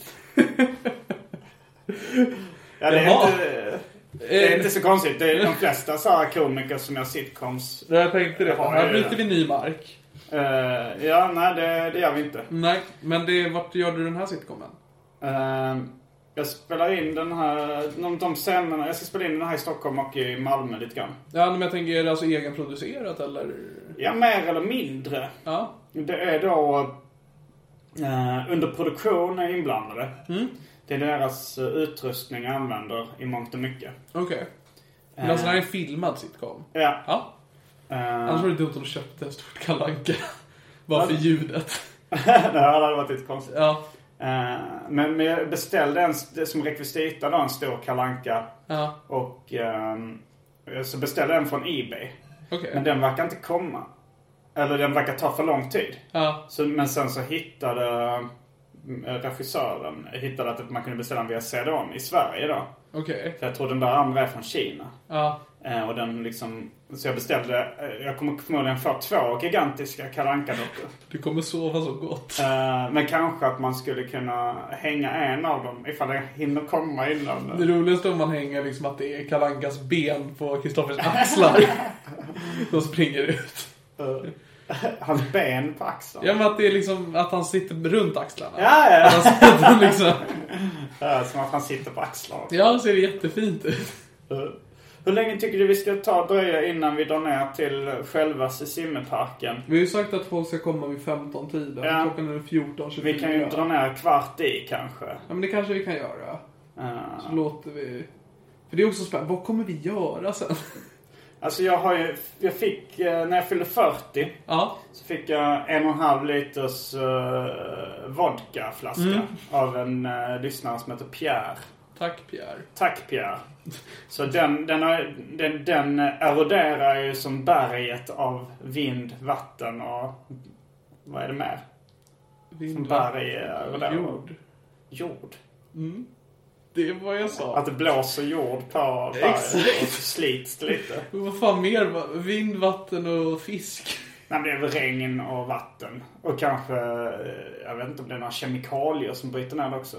[SPEAKER 3] ja, det är,
[SPEAKER 2] Jaha.
[SPEAKER 3] inte, det är inte så konstigt. Det är de flesta så här komiker som gör sitcoms.
[SPEAKER 2] Jag tänkte det.
[SPEAKER 3] Jaha,
[SPEAKER 2] Här
[SPEAKER 3] ja,
[SPEAKER 2] bryter
[SPEAKER 3] ja.
[SPEAKER 2] vi ny mark.
[SPEAKER 3] Eh, ja, nej, det, det gör vi inte.
[SPEAKER 2] Nej, men det, vart gör du den här sitcomen?
[SPEAKER 3] Eh, jag spelar in den här, de, de scenerna, jag ska spela in den här i Stockholm och i Malmö lite grann.
[SPEAKER 2] Ja, men jag tänker, är det alltså egenproducerat eller?
[SPEAKER 3] Ja, mer eller mindre.
[SPEAKER 2] Ja.
[SPEAKER 3] Det är då eh, under produktion är inblandade. Det är deras eh, utrustning jag använder i mångt och mycket. Eh,
[SPEAKER 2] Okej. Men alltså det här är en filmad sitcom?
[SPEAKER 3] Ja.
[SPEAKER 2] Ja. Annars
[SPEAKER 3] Eh,
[SPEAKER 2] var det dumt om du köpte ett stort Kalle Anka. [laughs] Bara för ljudet.
[SPEAKER 3] [laughs] det här hade varit lite konstigt.
[SPEAKER 2] Ja.
[SPEAKER 3] Eh, men, men jag beställde en, som rekvisita då en stor kalanka
[SPEAKER 2] Ja.
[SPEAKER 3] Och ehm, så beställde jag en från Ebay.
[SPEAKER 2] Okej.
[SPEAKER 3] Men den verkar inte komma. Eller den verkar ta för lång tid.
[SPEAKER 2] Ja.
[SPEAKER 3] Så, men sen så hittade mm, regissören hittade att man kunde beställa den via CD-ON i Sverige då.
[SPEAKER 2] Okej.
[SPEAKER 3] För jag tror den där andra är från Kina.
[SPEAKER 2] Ja.
[SPEAKER 3] Eh, och den liksom, så jag beställde, eh, jag kommer förmodligen få två gigantiska Kalle Anka-dockor.
[SPEAKER 2] Du kommer sova så gott.
[SPEAKER 3] Eh, men kanske att man skulle kunna hänga en av dem ifall den hinner komma innan.
[SPEAKER 2] Det roligaste om man hänger liksom att det är Kalle Ankas ben på Kristoffers [laughs] axlar. De springer ut.
[SPEAKER 3] eh, hans ben på axeln.
[SPEAKER 2] Ja men att det är liksom att han sitter runt axlarna.
[SPEAKER 3] Ja, ja, ja.
[SPEAKER 2] Alltså, [laughs] att han liksom,
[SPEAKER 3] Eh, Som att han sitter på axlarna.
[SPEAKER 2] ja, det ser jättefint ut.
[SPEAKER 3] Eh, Hur länge tycker du vi ska ta och dröja innan vi drar ner till själva simmeparken?
[SPEAKER 2] Vi har ju sagt att folk ska komma vid 15-tiden.
[SPEAKER 3] Ja.
[SPEAKER 2] Klockan är 14.24.
[SPEAKER 3] Vi kan ju dra ner kvart i kanske.
[SPEAKER 2] Ja men det kanske vi kan göra.
[SPEAKER 3] Eh,
[SPEAKER 2] Så låter vi... För det är också spännande. Vad kommer vi göra sen?
[SPEAKER 3] Alltså jag har ju, jag fick, eh, när jag fyllde 40
[SPEAKER 2] Ja.
[SPEAKER 3] så fick jag en och en halv liters eh, vodkaflaska
[SPEAKER 2] Mm.
[SPEAKER 3] av en eh, lyssnare som heter Pierre.
[SPEAKER 2] Tack Pierre.
[SPEAKER 3] Tack Pierre. Så den, den, har, den, den eroderar ju som berget av vind, vatten och vad är det mer? Som berg eroderar.
[SPEAKER 2] Jord.
[SPEAKER 3] Jord.
[SPEAKER 2] Det var jag sa.
[SPEAKER 3] Att det blåser jord på berget
[SPEAKER 2] Exakt.
[SPEAKER 3] och så slits det lite.
[SPEAKER 2] Men Vad fan mer? va? Vind, vatten och fisk.
[SPEAKER 3] Nej, men det är väl regn och vatten. Och kanske, eh, jag vet inte om det är några kemikalier som bryter ner det också.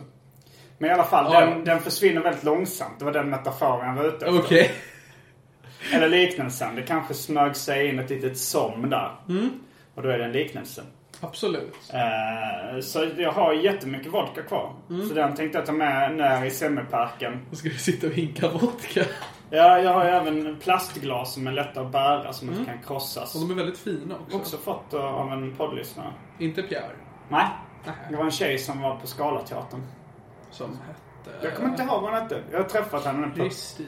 [SPEAKER 3] Men i alla fall,
[SPEAKER 2] Ja.
[SPEAKER 3] den, den försvinner väldigt långsamt. Det var den metaforen jag var ute efter.
[SPEAKER 2] Okej.
[SPEAKER 3] Eller liknelsen. Det kanske smög sig in ett litet som där.
[SPEAKER 2] Mm.
[SPEAKER 3] Och då är det en liknelse.
[SPEAKER 2] Absolut.
[SPEAKER 3] Eh, så jag har jättemycket vodka kvar.
[SPEAKER 2] Mm.
[SPEAKER 3] Så den tänkte jag ta med ner i semmelparken.
[SPEAKER 2] Då ska vi sitta och hinka vodka.
[SPEAKER 3] Ja, jag har ju även plastglas som är lätta att bära som inte kan krossas.
[SPEAKER 2] Mm. Och de är väldigt fina också.
[SPEAKER 3] Också fått eh, av en poddlyssnare.
[SPEAKER 2] Inte Pierre.
[SPEAKER 3] Nej.
[SPEAKER 2] Nej.
[SPEAKER 3] Det var en tjej som var på Scalateatern.
[SPEAKER 2] Som hette...
[SPEAKER 3] Jag kommer inte ihåg vad hon hette. Jag har träffat henne på...
[SPEAKER 2] Kristin.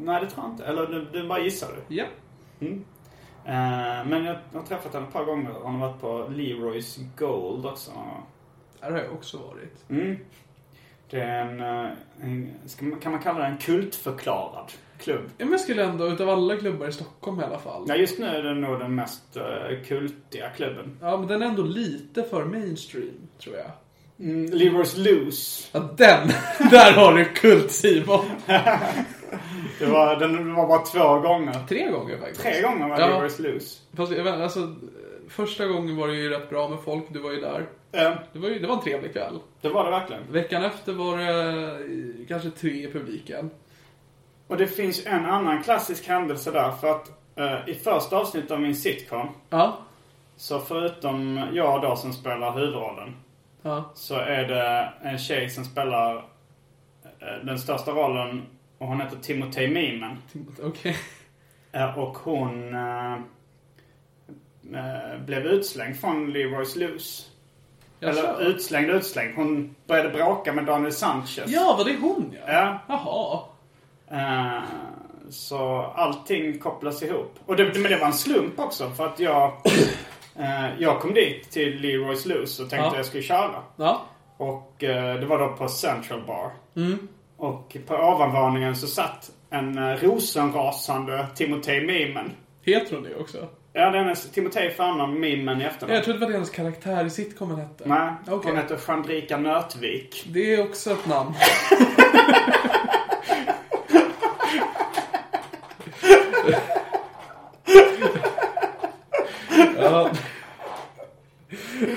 [SPEAKER 3] Nej, det tror jag inte. Eller du, du bara gissar du.
[SPEAKER 2] Ja.
[SPEAKER 3] Eh, men jag har träffat henne ett par gånger. Hon har varit på Leroys Gold också.
[SPEAKER 2] Där har jag också varit.
[SPEAKER 3] Det är en... eh, en ska man, kan man kalla det en kultförklarad klubb?
[SPEAKER 2] Ja, men jag skulle ändå, utav alla klubbar i Stockholm i alla fall.
[SPEAKER 3] Ja, just nu är den nog den mest eh, kultiga klubben.
[SPEAKER 2] Ja, men den är ändå lite för mainstream, tror jag.
[SPEAKER 3] Mm, Leroys Loose.
[SPEAKER 2] Ja, den! [laughs] Där har du Kult-Simon!
[SPEAKER 3] Det var, den var bara två gånger.
[SPEAKER 2] Tre gånger faktiskt.
[SPEAKER 3] Tre gånger var
[SPEAKER 2] Ja.
[SPEAKER 3] Leroys Loose.
[SPEAKER 2] Fast jag vet, alltså, första gången var det ju rätt bra med folk, du var ju där.
[SPEAKER 3] Eh,
[SPEAKER 2] Det var, ju, det var en trevlig kväll.
[SPEAKER 3] det var det verkligen.
[SPEAKER 2] Veckan efter var det eh, kanske tre i publiken.
[SPEAKER 3] Och det finns en annan klassisk händelse där. För att eh, i första avsnittet av min sitcom,
[SPEAKER 2] Ja.
[SPEAKER 3] så förutom jag då som spelar huvudrollen,
[SPEAKER 2] Ja.
[SPEAKER 3] så är det en tjej som spelar eh, den största rollen. Och hon heter Timotej Mimen.
[SPEAKER 2] Okej.
[SPEAKER 3] Eh, och hon eh, eh, blev utslängd från Leroy's Loose. Eller
[SPEAKER 2] Jaså?
[SPEAKER 3] utslängd, utslängd. Hon började bråka med Daniel Sanchez.
[SPEAKER 2] Ja, var det hon ja?
[SPEAKER 3] Ja.
[SPEAKER 2] Jaha.
[SPEAKER 3] Eh, Så allting kopplas ihop. Och det, men det var en slump också för
[SPEAKER 2] [clears throat]
[SPEAKER 3] att jag... eh, Jag kom dit till Leroy's Loose och tänkte
[SPEAKER 2] Ja.
[SPEAKER 3] att jag skulle köra.
[SPEAKER 2] Ja.
[SPEAKER 3] Och eh, det var då på Central Bar.
[SPEAKER 2] Mm.
[SPEAKER 3] Och på ovanvåningen så satt en eh, rosenrasande Timotej Mimen.
[SPEAKER 2] Heter hon det också?
[SPEAKER 3] Ja, den är Timotej förnamn, Mimmen i
[SPEAKER 2] Nej, jag
[SPEAKER 3] efternamn.
[SPEAKER 2] trodde det var det hennes karaktär i sitcomen hette.
[SPEAKER 3] Nej,
[SPEAKER 2] Okej.
[SPEAKER 3] hon heter Chandrika Nötvik.
[SPEAKER 2] Det är också ett namn. ja.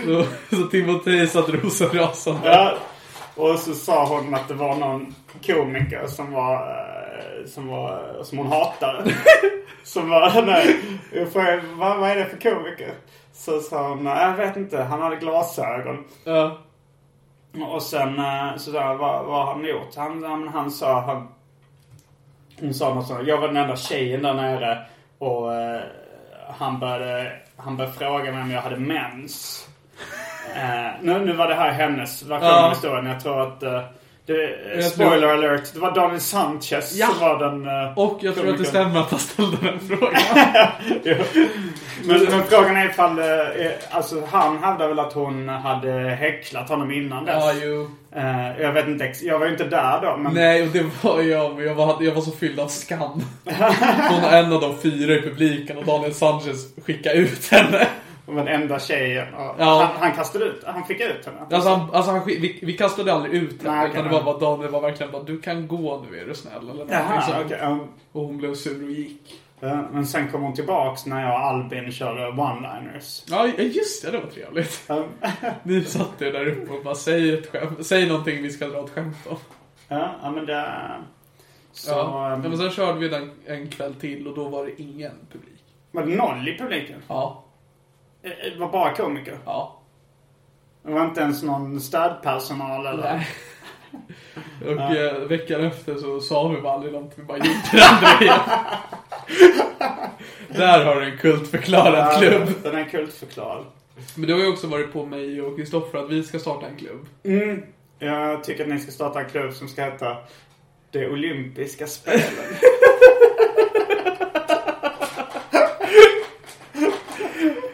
[SPEAKER 2] Så, så Timotej satt rosenrasande.
[SPEAKER 3] Ja. [laughs] Och så sa hon att det var någon komiker som var... eh, Som, var, som hon hatade. Som var... [laughs] Nej, jag frågade, vad, vad är det för komiker? Så sa hon, "Nej, jag vet inte, han hade glasögon.
[SPEAKER 2] Ja.
[SPEAKER 3] Och sen eh, så sa jag, vad, vad har han gjort? Han, han, han sa, han, hon sa något sånt, jag var den enda tjejen där nere och eh, han, började, han började fråga mig om jag hade
[SPEAKER 2] [laughs]
[SPEAKER 3] mens. Eh, nu, nu var det här hennes version av
[SPEAKER 2] Ja.
[SPEAKER 3] historien. Jag tror att, eh, det, eh,
[SPEAKER 2] Jag tror-
[SPEAKER 3] spoiler alert, det var Daniel Sanchez
[SPEAKER 2] Ja.
[SPEAKER 3] som var den... eh,
[SPEAKER 2] Och jag tror att det
[SPEAKER 3] komikern.
[SPEAKER 2] stämmer att han ställde den frågan.
[SPEAKER 3] Men, men frågan är ifall, eh, alltså han hävdar väl att hon hade häcklat honom innan dess.
[SPEAKER 2] Ja, jo.
[SPEAKER 3] Eh, jag vet inte, ex- jag var ju inte där då. Men,
[SPEAKER 2] Nej, och det var jag. men Jag var, jag var så fylld av skam. Hon är en av de fyra i publiken och Daniel Sanchez skickade ut henne.
[SPEAKER 3] Och den enda tjejen. Och
[SPEAKER 2] Ja.
[SPEAKER 3] han, han kastade ut, han fick ut henne.
[SPEAKER 2] Alltså, han, alltså han, skick- vi, vi kastade aldrig ut henne.
[SPEAKER 3] Nej,
[SPEAKER 2] utan det
[SPEAKER 3] okej.
[SPEAKER 2] var bara Daniel var verkligen bara du kan gå nu är du snäll. Eller någonting
[SPEAKER 3] Jaha,
[SPEAKER 2] sånt.
[SPEAKER 3] okej. um,
[SPEAKER 2] Och hon blev sur och gick.
[SPEAKER 3] eh, men sen kom hon tillbaks när jag och Albin körde one-liners.
[SPEAKER 2] Ja ja, just det, det var trevligt.
[SPEAKER 3] Um,
[SPEAKER 2] [laughs] Ni satt er där uppe och bara säg ett skämt. Säg någonting vi ska dra ett skämt om.
[SPEAKER 3] ja, ja, men det... Så,
[SPEAKER 2] Ja.
[SPEAKER 3] um,
[SPEAKER 2] ja, men sen körde vi den en kväll till och då var det ingen publik.
[SPEAKER 3] Var det noll i publiken?
[SPEAKER 2] Ja,
[SPEAKER 3] Eh, Det var bara komiker?
[SPEAKER 2] ja.
[SPEAKER 3] Det var inte ens någon stödpersonal eller?
[SPEAKER 2] Nej. [laughs] Och eh, veckan efter så sa vi bara aldrig någonting, vi bara gjorde det andra
[SPEAKER 3] [laughs]
[SPEAKER 2] igen. Där har du en kultförklarad klubb.
[SPEAKER 3] Ja, Den är kultförklarad.
[SPEAKER 2] Men du har ju också varit på mig och Kristoffer att vi ska starta en klubb.
[SPEAKER 3] Mm. Jag tycker att ni ska starta en klubb som ska heta Det
[SPEAKER 2] [laughs]
[SPEAKER 3] Olympiska Spelen.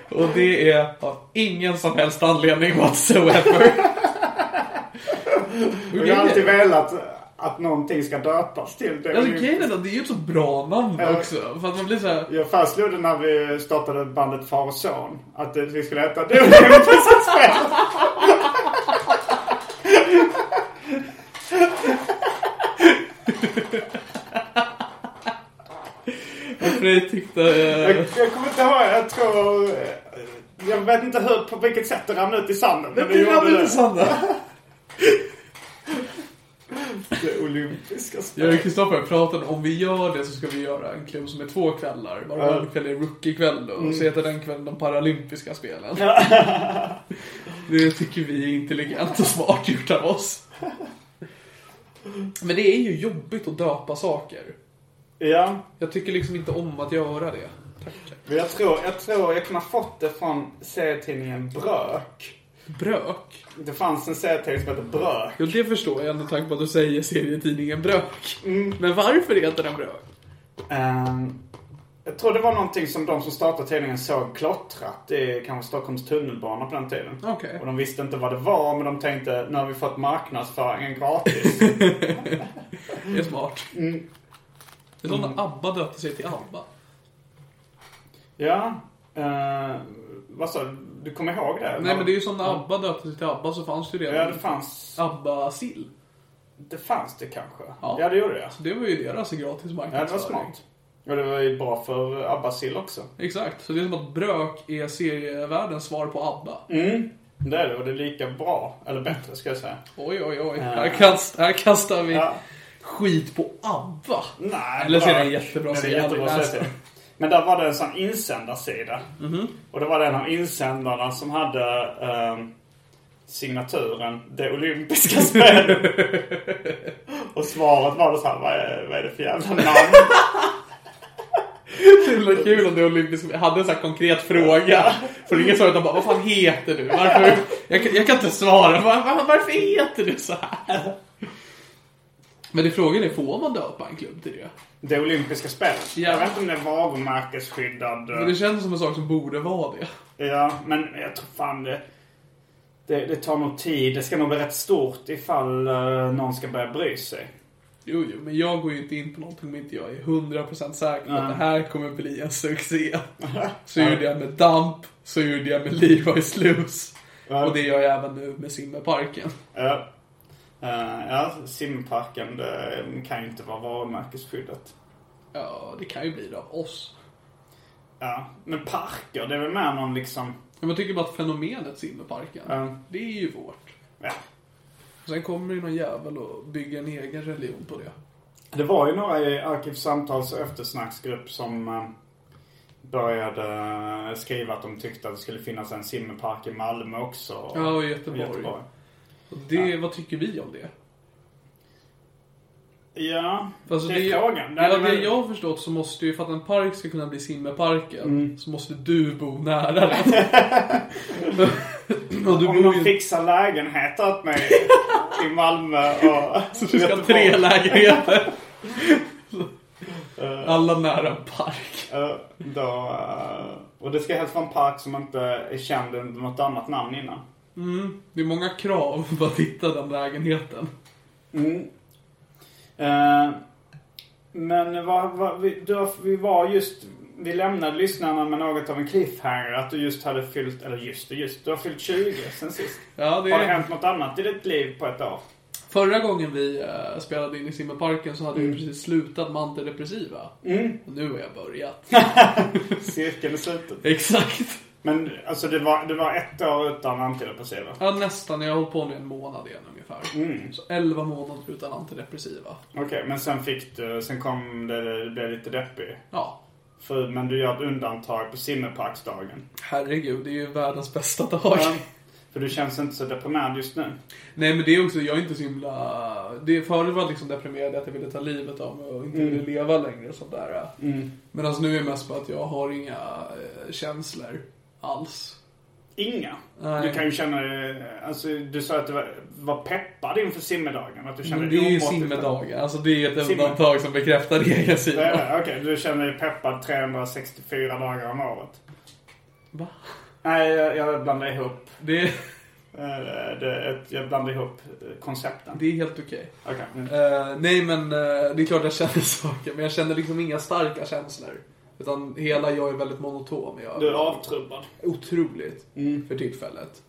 [SPEAKER 2] Och det är av ingen som helst anledning [laughs] whatsoever. Och
[SPEAKER 3] Jag har alltid
[SPEAKER 2] grejen-
[SPEAKER 3] velat att någonting ska döpas till det.
[SPEAKER 2] Alltså
[SPEAKER 3] olympiska
[SPEAKER 2] grejen är att det är ju ett så bra namn
[SPEAKER 3] Ja.
[SPEAKER 2] också. För att man blir så här,
[SPEAKER 3] Jag fastslog det när vi startade bandet Far och Son. Att det- vi skulle heta Det Olympiska Spelet.
[SPEAKER 2] Frej tyckte... eh,
[SPEAKER 3] Jag, jag kommer inte ihåg, jag tror... eh, Jag vet inte hur, på vilket sätt det ramlade ut i sanden. Men
[SPEAKER 2] Det var lite sant.
[SPEAKER 3] Det Olympiska
[SPEAKER 2] Jag och
[SPEAKER 3] Spelet.
[SPEAKER 2] Kristoffer pratade om vi gör det så ska vi göra en klubb som är två kvällar. Bara
[SPEAKER 3] Ja.
[SPEAKER 2] en kväll är rookie-kväll då,
[SPEAKER 3] Mm.
[SPEAKER 2] och så heter den kvällen de paralympiska spelen. [laughs] Det tycker vi är intelligent och smart gjort av
[SPEAKER 3] [laughs]
[SPEAKER 2] oss. Men det är ju jobbigt att döpa saker.
[SPEAKER 3] Ja.
[SPEAKER 2] Jag tycker liksom inte om att göra det. Tack.
[SPEAKER 3] Men jag tror, jag tror jag kan ha fått det från serietidningen Brök.
[SPEAKER 2] Brök?
[SPEAKER 3] Det fanns en serietidning som hette Brök.
[SPEAKER 2] Jo, det förstår jag med tanke på att du säger serietidningen Brök.
[SPEAKER 3] Mm.
[SPEAKER 2] Men varför heter den Brök?
[SPEAKER 3] Ehm, jag tror det var någonting som de som startade tidningen såg klottrat i kanske Stockholms tunnelbana på den tiden.
[SPEAKER 2] Okej.
[SPEAKER 3] Och de visste inte vad det var men de tänkte nu har vi fått marknadsföringen gratis. Mm.
[SPEAKER 2] Det är smart. Det är som när ABBA döpte sig till ABBA.
[SPEAKER 3] ja. Uh, vad sa du? Du kommer ihåg det?
[SPEAKER 2] Nej men det är ju som när ABBA döpte sig till ABBA så fanns det ju
[SPEAKER 3] Ja, det
[SPEAKER 2] redan
[SPEAKER 3] fanns,
[SPEAKER 2] ABBA-sill.
[SPEAKER 3] det fanns det kanske. Ja,
[SPEAKER 2] Ja.
[SPEAKER 3] det gjorde det.
[SPEAKER 2] Så det var ju deras gratis
[SPEAKER 3] Ja, det var
[SPEAKER 2] marknadsföring.
[SPEAKER 3] smart. Och det var ju bra för Abba Sill också.
[SPEAKER 2] Exakt, så det är som att Brök är serievärldens svar på ABBA.
[SPEAKER 3] Mm. Det är det och det är lika bra, eller bättre ska jag säga.
[SPEAKER 2] Oj, oj, oj. Här, kast, här kastar vi
[SPEAKER 3] Ja.
[SPEAKER 2] skit på ABBA.
[SPEAKER 3] Nej,
[SPEAKER 2] Eller så är det en
[SPEAKER 3] bra.
[SPEAKER 2] jättebra
[SPEAKER 3] Nej, det är
[SPEAKER 2] serie, jag har aldrig
[SPEAKER 3] jättebra
[SPEAKER 2] läst
[SPEAKER 3] serie.
[SPEAKER 2] den.
[SPEAKER 3] Men där var det en sån insändarsida.
[SPEAKER 2] Mhm.
[SPEAKER 3] Och det var det en av insändarna som hade ehm, signaturen Det
[SPEAKER 2] [laughs]
[SPEAKER 3] Olympiska Spelen. och svaret var det så här, vad är, vad är det för jävla namn?
[SPEAKER 2] Det himla kul om det olympiska... Jag hade en sån här konkret fråga. För ingen sa utan bara, vad fan heter du? Varför? Jag, kan- jag kan inte svara. Var, var, varför heter du så här? Men det frågan är, får man döpa en klubb till det?
[SPEAKER 3] det Olympiska Spelet.
[SPEAKER 2] Ja.
[SPEAKER 3] Jag vet inte om det är varumärkesskyddad. eh,
[SPEAKER 2] Men det känns som en sak som borde vara det.
[SPEAKER 3] Ja, men jag tror fan det... Det, det tar nog tid. Det ska nog bli rätt stort ifall eh, någon ska börja bry sig.
[SPEAKER 2] Jo, jo, men jag går ju inte in på någonting om inte jag är 100% säker på att det här kommer bli en succé. Så gjorde jag med Damp, så gjorde jag med Levi Slus.
[SPEAKER 3] Ja.
[SPEAKER 2] Och det gör jag även nu med Simmerparken.
[SPEAKER 3] Ja. Eh, ja, simparken det kan ju inte vara varumärkesskyddat.
[SPEAKER 2] Ja, det kan ju bli det av oss.
[SPEAKER 3] Ja, men parker, det är väl mer någon liksom...
[SPEAKER 2] Men jag tycker bara att fenomenet Simmerparken,
[SPEAKER 3] Ja.
[SPEAKER 2] det är ju vårt.
[SPEAKER 3] Ja.
[SPEAKER 2] Och sen kommer ju någon jävel och bygger en egen religion på det.
[SPEAKER 3] Det var ju några i Arkivsamtals och eftersnacksgrupp som eh, började eh, skriva att de tyckte att det skulle finnas en simpark i Malmö också. och-
[SPEAKER 2] Ja, och i Göteborg. Och det, Vad tycker vi om det?
[SPEAKER 3] Ja,
[SPEAKER 2] Alltså,
[SPEAKER 3] det är frågan.
[SPEAKER 2] Ja,
[SPEAKER 3] Det hade
[SPEAKER 2] det
[SPEAKER 3] väl-
[SPEAKER 2] jag har förstått så måste ju, för att en park ska kunna bli simmeparken,
[SPEAKER 3] Mm.
[SPEAKER 2] så måste du bo nära
[SPEAKER 3] [laughs]
[SPEAKER 2] den. och du
[SPEAKER 3] Om
[SPEAKER 2] bor
[SPEAKER 3] de
[SPEAKER 2] ju...
[SPEAKER 3] fixar lägenhet åt mig i Malmö och
[SPEAKER 2] [laughs] Så du ska ha tre lägenheter. Alla nära en park.
[SPEAKER 3] Eh, Då, eh, och det ska helst vara en park som inte är känd under något annat namn innan.
[SPEAKER 2] Det är många krav för att hitta den lägenheten.
[SPEAKER 3] Eh, Men vad, vad, vi, då, vi var just, vi lämnade lyssnarna med något av en cliffhanger. Att du just hade fyllt, eller just och just, du har fyllt 20 sen sist.
[SPEAKER 2] Ja, det
[SPEAKER 3] Har det
[SPEAKER 2] är...
[SPEAKER 3] hänt något annat i ditt liv på
[SPEAKER 2] [laughs]
[SPEAKER 3] ett år?
[SPEAKER 2] Förra gången vi eh, spelade in i simmeparken så hade vi precis slutat med antidepressiva. Och nu har jag börjat. [laughs]
[SPEAKER 3] Cirkeln är sluten.
[SPEAKER 2] Exakt.
[SPEAKER 3] Men alltså det var, det var ett år utan antidepressiva.
[SPEAKER 2] Ja, nästan. Jag har hållit på nu en månad igen ungefär. Så 11 månader utan antidepressiva.
[SPEAKER 3] Okej, men sen fick du, sen kom det, det blev lite deppig.
[SPEAKER 2] Ja,
[SPEAKER 3] För, men du gör ett undantag på simmerparksdagen.
[SPEAKER 2] herregud. Det är ju världens bästa dag.
[SPEAKER 3] Ja, För du känns inte så deprimerad just nu.
[SPEAKER 2] [laughs] Nej, men det är också, jag är inte så himla... Det, förut var jag liksom deprimerad att jag ville ta livet av mig och inte ville leva längre och sånt där. Mm. Medan nu är det mest bara att jag har inga eh, känslor alls.
[SPEAKER 3] Inga.
[SPEAKER 2] Nej.
[SPEAKER 3] Du kan ju känna dig- alltså du sa att du var, var peppad inför simmedagen. Att du typ kände
[SPEAKER 2] Men det
[SPEAKER 3] dig
[SPEAKER 2] är ju
[SPEAKER 3] omåttligt-
[SPEAKER 2] simmedagen. Alltså det är ett
[SPEAKER 3] Simme.
[SPEAKER 2] undantag som bekräftar egen
[SPEAKER 3] Det är
[SPEAKER 2] sida.
[SPEAKER 3] det, Okej, du känner dig peppad 364 dagar om året.
[SPEAKER 2] Va?
[SPEAKER 3] Nej, jag, jag blandar ihop,
[SPEAKER 2] Det,
[SPEAKER 3] eh, det, är ett- jag blandar ihop eh, koncepten.
[SPEAKER 2] det är helt okej.
[SPEAKER 3] Okej. Mm.
[SPEAKER 2] Eh, nej men eh, det är klart jag känner [laughs] saker men jag känner liksom inga starka känslor. Utan hela jag är väldigt monotom. Jag,
[SPEAKER 3] Du Mm. är avtrubbad.
[SPEAKER 2] Otroligt för tillfället.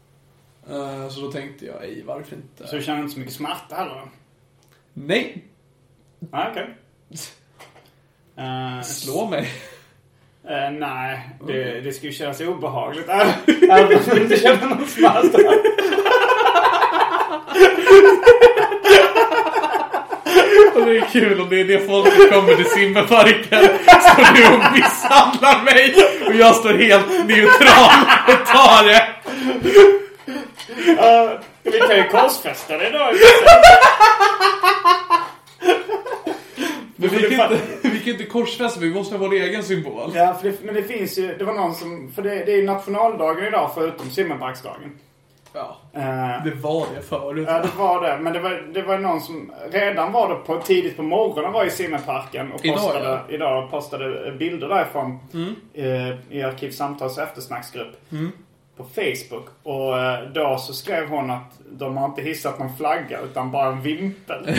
[SPEAKER 2] Eh, så då tänkte jag, ej varför inte?
[SPEAKER 3] Så du känner inte så mycket smärta heller?
[SPEAKER 2] Nej!
[SPEAKER 3] Nej, okej. Eh,
[SPEAKER 2] Slå mig! [laughs]
[SPEAKER 3] Eh, nej, det, det skulle kännas obehagligt. [laughs] Äh, Även om du inte känner någon smärta.
[SPEAKER 2] Och det är kul om det är det folket kommer till simmeparken så du misshandlar mig och jag står helt neutral och tar det.
[SPEAKER 3] Eh, vi kan ju korsfästa det då.
[SPEAKER 2] Men vi
[SPEAKER 3] det
[SPEAKER 2] kan inte,
[SPEAKER 3] fattar
[SPEAKER 2] vi kan inte korsfästa, vi måste ha vår egen symbol.
[SPEAKER 3] Ja, för det, men det finns ju, det var någon som, för det, det är ju nationaldagen idag förutom simmerparksdagen.
[SPEAKER 2] Ja,
[SPEAKER 3] Eh,
[SPEAKER 2] det var det förut.
[SPEAKER 3] Ja, det var det. Men det var, det var ju någon som redan var det på, tidigt på morgonen var i simmerparken och
[SPEAKER 2] Idag,
[SPEAKER 3] postade, idag,
[SPEAKER 2] ja. Mm.
[SPEAKER 3] postade bilder därifrån eh, i Arkivsamtals eftersnacksgrupp på Facebook. Och eh, då så skrev hon att de har inte hissat någon flagga utan bara en vimpel.
[SPEAKER 2] [laughs]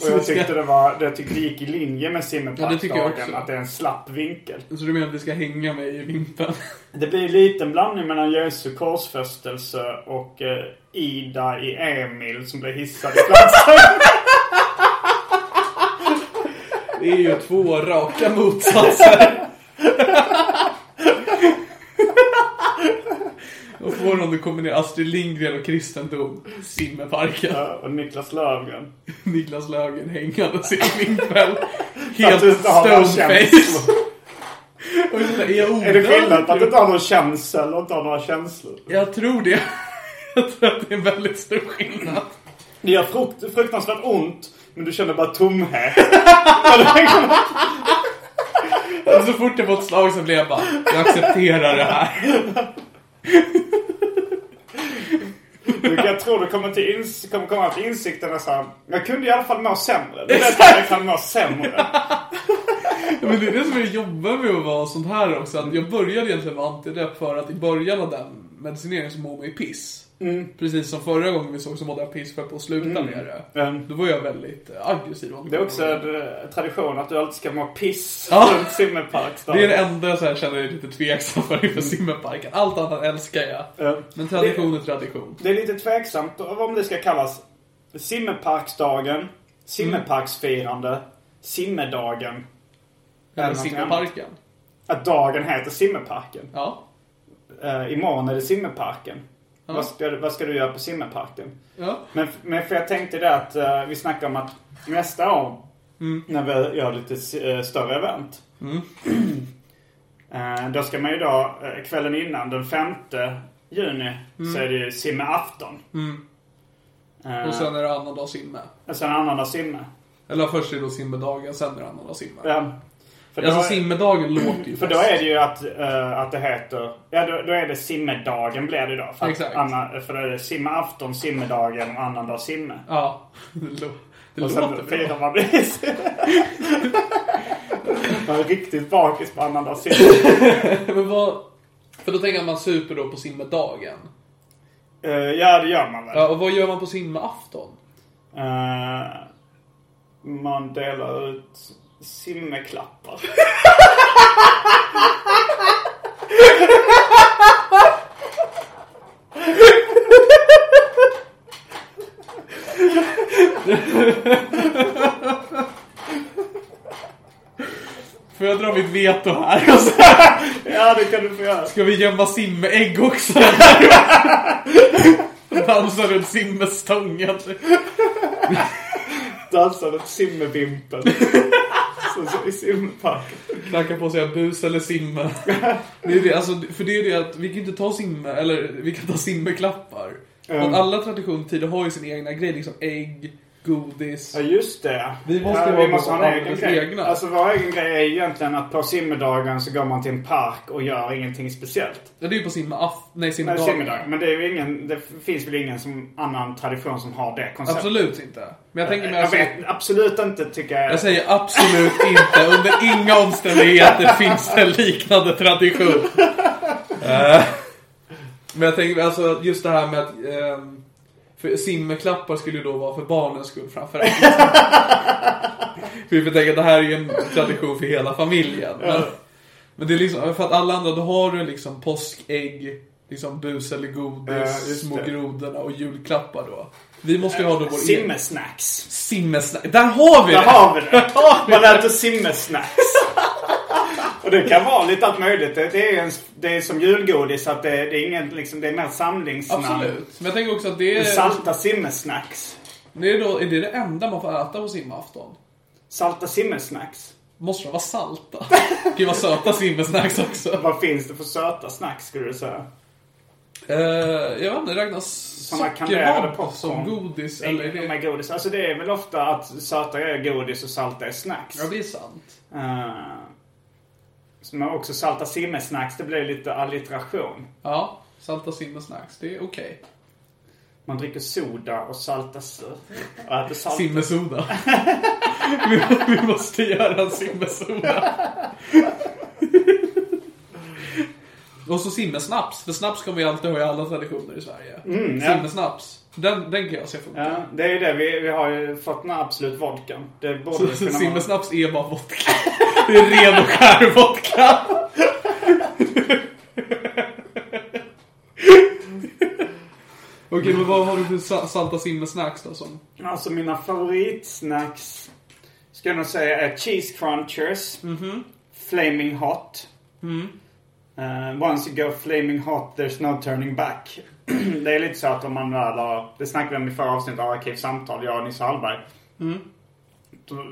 [SPEAKER 3] och jag tyckte det, var, det, jag tyckte det gick i linje med
[SPEAKER 2] Ja, det tycker jag
[SPEAKER 3] simmerparksdagen
[SPEAKER 2] också.
[SPEAKER 3] att det är en slapp vinkel.
[SPEAKER 2] Så du menar att vi ska hänga mig i vimpeln?
[SPEAKER 3] Det blir en liten blandning mellan Jesu korsfästelse och eh, Ida i Emil som blir hissad i
[SPEAKER 2] [laughs]
[SPEAKER 3] platsen.
[SPEAKER 2] Det är ju två [laughs] raka motsatser. Vad får du om du kombinerar Astrid Lindgren och kristendom? Simmerparken.
[SPEAKER 3] Ja, och Niklas Löfgren.
[SPEAKER 2] Niklas Löfgren hängandes i en vimpel.
[SPEAKER 3] Att du
[SPEAKER 2] Helt
[SPEAKER 3] inte har några
[SPEAKER 2] stoneface.
[SPEAKER 3] känslor.
[SPEAKER 2] Och jag känner, Är jag
[SPEAKER 3] Är det skillnad på att du inte
[SPEAKER 2] odödlig?
[SPEAKER 3] har någon känsel och inte har några känslor?
[SPEAKER 2] Jag tror det. Jag tror att det är en väldigt stor skillnad.
[SPEAKER 3] Det gör frukt, fruktansvärt ont, men du känner bara tomhet.
[SPEAKER 2] Och så fort jag fått slag så blir jag bara, jag accepterar det här.
[SPEAKER 3] Du, jag tror du kommer, till ins- kommer komma till insikten nästan. Jag kunde i alla fall må sämre. Det vet jag, jag kan må sämre.
[SPEAKER 2] [laughs] Men det är det som jag jobbar med att vara sånt här också. Att jag började egentligen med antidepp för att i början av den medicineringen så mår man ju piss. Precis som förra gången vi såg så mådde jag piss för på att sluta med det.
[SPEAKER 3] Mm.
[SPEAKER 2] Då var jag väldigt eh, aggressiv. om
[SPEAKER 3] Det är också en eh, tradition att du alltid ska må piss
[SPEAKER 2] Ja.
[SPEAKER 3] runt simmerparksdagen.
[SPEAKER 2] Det är det enda så här, jag känner mig lite tveksam för inför simmerparken. Allt annat älskar jag.
[SPEAKER 3] Ja.
[SPEAKER 2] Men tradition är tradition.
[SPEAKER 3] Det är lite tveksamt om det ska kallas
[SPEAKER 2] Mm.
[SPEAKER 3] simmerparksdagen, simmerparksfirande, simmedagen.
[SPEAKER 2] Eller
[SPEAKER 3] något
[SPEAKER 2] simmerparken.
[SPEAKER 3] Att dagen heter simmerparken.
[SPEAKER 2] Ja.
[SPEAKER 3] Eh, imorgon är det simmerparken.
[SPEAKER 2] Ja.
[SPEAKER 3] Vad, ska, vad ska du göra på simmerparken?
[SPEAKER 2] ja.
[SPEAKER 3] Men, men för jag tänkte det att eh, vi snackade om att nästa år
[SPEAKER 2] Mm.
[SPEAKER 3] när vi gör lite eh, större event. [clears throat] eh, då ska man ju då eh, kvällen innan den 5 juni
[SPEAKER 2] Mm.
[SPEAKER 3] så är det ju simmeafton. Eh,
[SPEAKER 2] Och sen är det annandag simme.
[SPEAKER 3] och sen annandag simme.
[SPEAKER 2] Eller först är det då simmedagen, sen är det annandag simme.
[SPEAKER 3] Ja. För, då,
[SPEAKER 2] Alltså simmedagen låter ju
[SPEAKER 3] för då är det ju att, eh, att det heter... Ja, då, då är det simmedagen blir det då. För, att
[SPEAKER 2] Exakt.
[SPEAKER 3] Anna, för då är det simmeafton, simmedagen och annandag simme.
[SPEAKER 2] Ja. [laughs] Det, lå- det
[SPEAKER 3] Och
[SPEAKER 2] låter bra.
[SPEAKER 3] sen firar man det. [laughs] Man är riktigt bakis på annandag simme.
[SPEAKER 2] Men vad... För då tänker jag att man super då på simmedagen.
[SPEAKER 3] Eh, ja, det gör man väl.
[SPEAKER 2] Ja, och vad gör man på simmeafton?
[SPEAKER 3] Eh, man delar ut simmeklappar. [laughs]
[SPEAKER 2] Får jag dra mitt veto här? [laughs] Och så
[SPEAKER 3] ja, det kan du få göra.
[SPEAKER 2] Ska vi gömma simmeägg också? [laughs] Dansa runt simmestången.
[SPEAKER 3] Dansa runt simmevimpeln. Som [laughs] så i simmeparken.
[SPEAKER 2] Knacka på och säga bus eller simme. Det är det, alltså, för det är det att vi kan ju inte ta simme, eller vi kan ta simmeklappar.
[SPEAKER 3] Mm.
[SPEAKER 2] Och att alla traditionstider har ju sin egna grej, liksom ägg, godis.
[SPEAKER 3] Ja, just det.
[SPEAKER 2] Vi måste
[SPEAKER 3] ja,
[SPEAKER 2] vara
[SPEAKER 3] vi måste ha en egen
[SPEAKER 2] alldeles
[SPEAKER 3] grej.
[SPEAKER 2] egna.
[SPEAKER 3] Alltså, vår egen grej är egentligen att på simmedagen så går man till en park och gör ingenting speciellt.
[SPEAKER 2] Ja, det är ju på simmeaff... Nej,
[SPEAKER 3] Nej,
[SPEAKER 2] simmedagen.
[SPEAKER 3] simmedag. Men det, är ju ingen, det finns väl ingen som, annan tradition som har det konceptet?
[SPEAKER 2] Absolut inte. Men jag tänker mig
[SPEAKER 3] Jag
[SPEAKER 2] alltså...
[SPEAKER 3] vet absolut inte, tycker jag.
[SPEAKER 2] Jag säger absolut inte. Under inga omständigheter finns det en liknande tradition. Eh, Men jag tänker alltså just det här med att ehm, för simmerklappar skulle ju då vara för barnens skull framförallt. för vi får tänka att det här är ju en tradition för hela familjen. Men, men det är liksom, för att alla andra, då har du liksom påskägg, liksom bus eller godis,
[SPEAKER 3] Ja, just
[SPEAKER 2] små
[SPEAKER 3] det.
[SPEAKER 2] grodorna och julklappar då. Vi måste ju ha då vår egen...
[SPEAKER 3] Simmesnacks.
[SPEAKER 2] Simmesnack. Där har vi
[SPEAKER 3] Där
[SPEAKER 2] det!
[SPEAKER 3] har vi det! Man äter simmesnacks. Och det kan vara lite allt möjligt. Det, det, är, en, det är som julgodis. Att det, det, är ingen, liksom, det är mer samlingsnamn.
[SPEAKER 2] Absolut. Men jag tänker också att det är,
[SPEAKER 3] Salta simmesnacks.
[SPEAKER 2] det är, då, är det, det enda man får äta på simafton.
[SPEAKER 3] Salta simmesnacks.
[SPEAKER 2] Måste
[SPEAKER 3] Måste
[SPEAKER 2] de vara [laughs] salta? Gud vad söta simmesnacks också.
[SPEAKER 3] Vad finns det för söta snacks skulle du säga?
[SPEAKER 2] Eh, jag vet inte, räknas
[SPEAKER 3] Såna kanderade
[SPEAKER 2] sockervadd
[SPEAKER 3] popcorn.
[SPEAKER 2] som godis?
[SPEAKER 3] Nej,
[SPEAKER 2] Eller är
[SPEAKER 3] de
[SPEAKER 2] det...
[SPEAKER 3] är godis. Alltså det är väl ofta att söta är godis och salta är snacks.
[SPEAKER 2] Ja, det är sant.
[SPEAKER 3] Eh, så man också salta simmesnacks. Det blir lite allitteration.
[SPEAKER 2] Ja, salta simmesnacks. Det är okej.
[SPEAKER 3] Man dricker soda och saltar sö- och äter salt.
[SPEAKER 2] Simmesoda. [laughs] vi, vi måste göra en [laughs] simmesoda. Och så simmesnaps, för snaps kommer vi alltid ha i alla traditioner i Sverige.
[SPEAKER 3] ja.
[SPEAKER 2] Simmesnaps, den, den kan jag se funka.
[SPEAKER 3] Ja, det är ju det. Vi, vi har ju fått den här Absolut Vodkan. Det borde vi
[SPEAKER 2] Så
[SPEAKER 3] kunna ha.
[SPEAKER 2] Simmersnaps är bara vodka. Det är ren och skär vodka. Okej, men vad har du för sa- salta simmesnacks då? Som?
[SPEAKER 3] Alltså mina favoritsnacks ska jag nog säga är Cheese Crunchers. Flaming Hot. Eh, once you go flaming hot there's no turning back. [clears throat] det är lite så att om man väl har, det snackade vi om i förra avsnittet av Arkivsamtal, jag och Nisse Hallberg.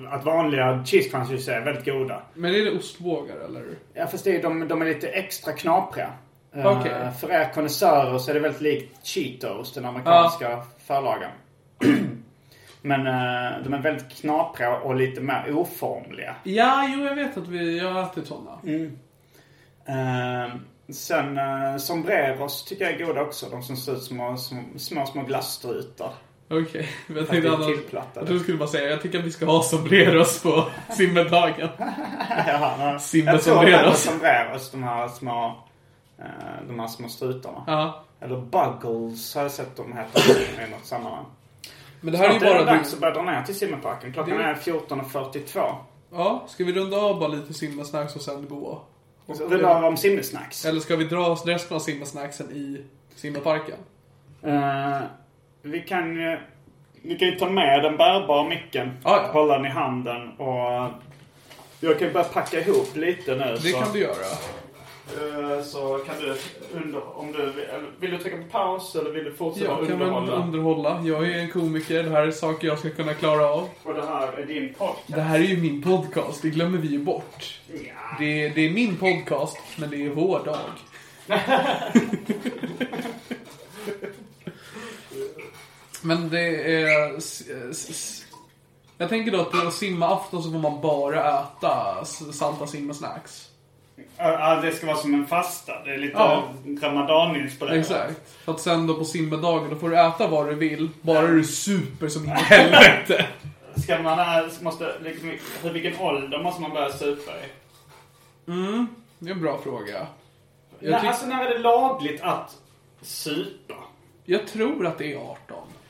[SPEAKER 3] Att vanliga cheese crunchers är väldigt goda.
[SPEAKER 2] Men är det ostbågar eller?
[SPEAKER 3] Ja fast det är, ju- de, de är lite extra knapriga. Eh,
[SPEAKER 2] Okej.
[SPEAKER 3] för er konnässörer så är det väldigt likt Cheetos, den amerikanska förlagan. [clears throat] Men eh, de är väldigt knapriga och lite mer oformliga.
[SPEAKER 2] Ja, jo jag vet att vi, jag har ätit sådana.
[SPEAKER 3] Eh, sen uh, sombreros tycker jag är goda också. De som ser ut som små, små, små glasstrutar.
[SPEAKER 2] Okej, men jag
[SPEAKER 3] Att vi
[SPEAKER 2] tänkte
[SPEAKER 3] är
[SPEAKER 2] annars...
[SPEAKER 3] tillplattade.
[SPEAKER 2] Jag trodde du skulle bara säga, jag tycker att vi ska ha sombreros på [laughs] simmedagen.
[SPEAKER 3] Ja,
[SPEAKER 2] Ah, Simba
[SPEAKER 3] jag tror de
[SPEAKER 2] sombreros.
[SPEAKER 3] heter sombreros, de här små Eh, de här små strutarna.
[SPEAKER 2] Ja.
[SPEAKER 3] Eller Buggles har jag sett dem heta i något sammanhang.
[SPEAKER 2] Men det här är ju bara du.
[SPEAKER 3] dags att börja dra ner till simmerparken. Klockan
[SPEAKER 2] Det-
[SPEAKER 3] är 14.42.
[SPEAKER 2] Ja, ska vi runda av bara lite simmasnacks och sen gå? Och-
[SPEAKER 3] Så Det var om simmelsnacks.
[SPEAKER 2] Eller ska vi dra resten av simmasnacksen i simmaparken?
[SPEAKER 3] Eh, vi kan ju... Vi kan ju ta med den bärbara micken.
[SPEAKER 2] Ja, ja.
[SPEAKER 3] Hålla den i handen och... Jag kan ju börja packa ihop lite nu.
[SPEAKER 2] Det
[SPEAKER 3] så.
[SPEAKER 2] kan du göra.
[SPEAKER 3] Eh, så kan du, under, om du vill, eller vill du trycka på paus eller vill du fortsätta
[SPEAKER 2] Jag kan väl
[SPEAKER 3] underhålla?
[SPEAKER 2] underhålla. Jag är en komiker. Det här är saker jag ska kunna klara av.
[SPEAKER 3] Och det här är din podcast.
[SPEAKER 2] Det här är ju min podcast. Det glömmer vi ju bort.
[SPEAKER 3] Ja.
[SPEAKER 2] Det, det är min podcast, men det är vår dag. [laughs] men det är... s- s- s- Jag tänker då att på simmaafton så får man bara äta s- salta simmasnacks.
[SPEAKER 3] Ja, det ska vara som en fasta. Det är lite
[SPEAKER 2] Ja.
[SPEAKER 3] ramadaninspirerat.
[SPEAKER 2] Exakt. För att sen då på simmedagen, då får du äta vad du vill, bara du super
[SPEAKER 3] [laughs]
[SPEAKER 2] som i helvete.
[SPEAKER 3] Ska man, äh, så måste, liksom, hur, vilken ålder måste man börja supa i?
[SPEAKER 2] Det är en bra fråga.
[SPEAKER 3] Nej,
[SPEAKER 2] Jag, tyck-
[SPEAKER 3] Alltså när är det lagligt att supa?
[SPEAKER 2] jag tror att det är 18.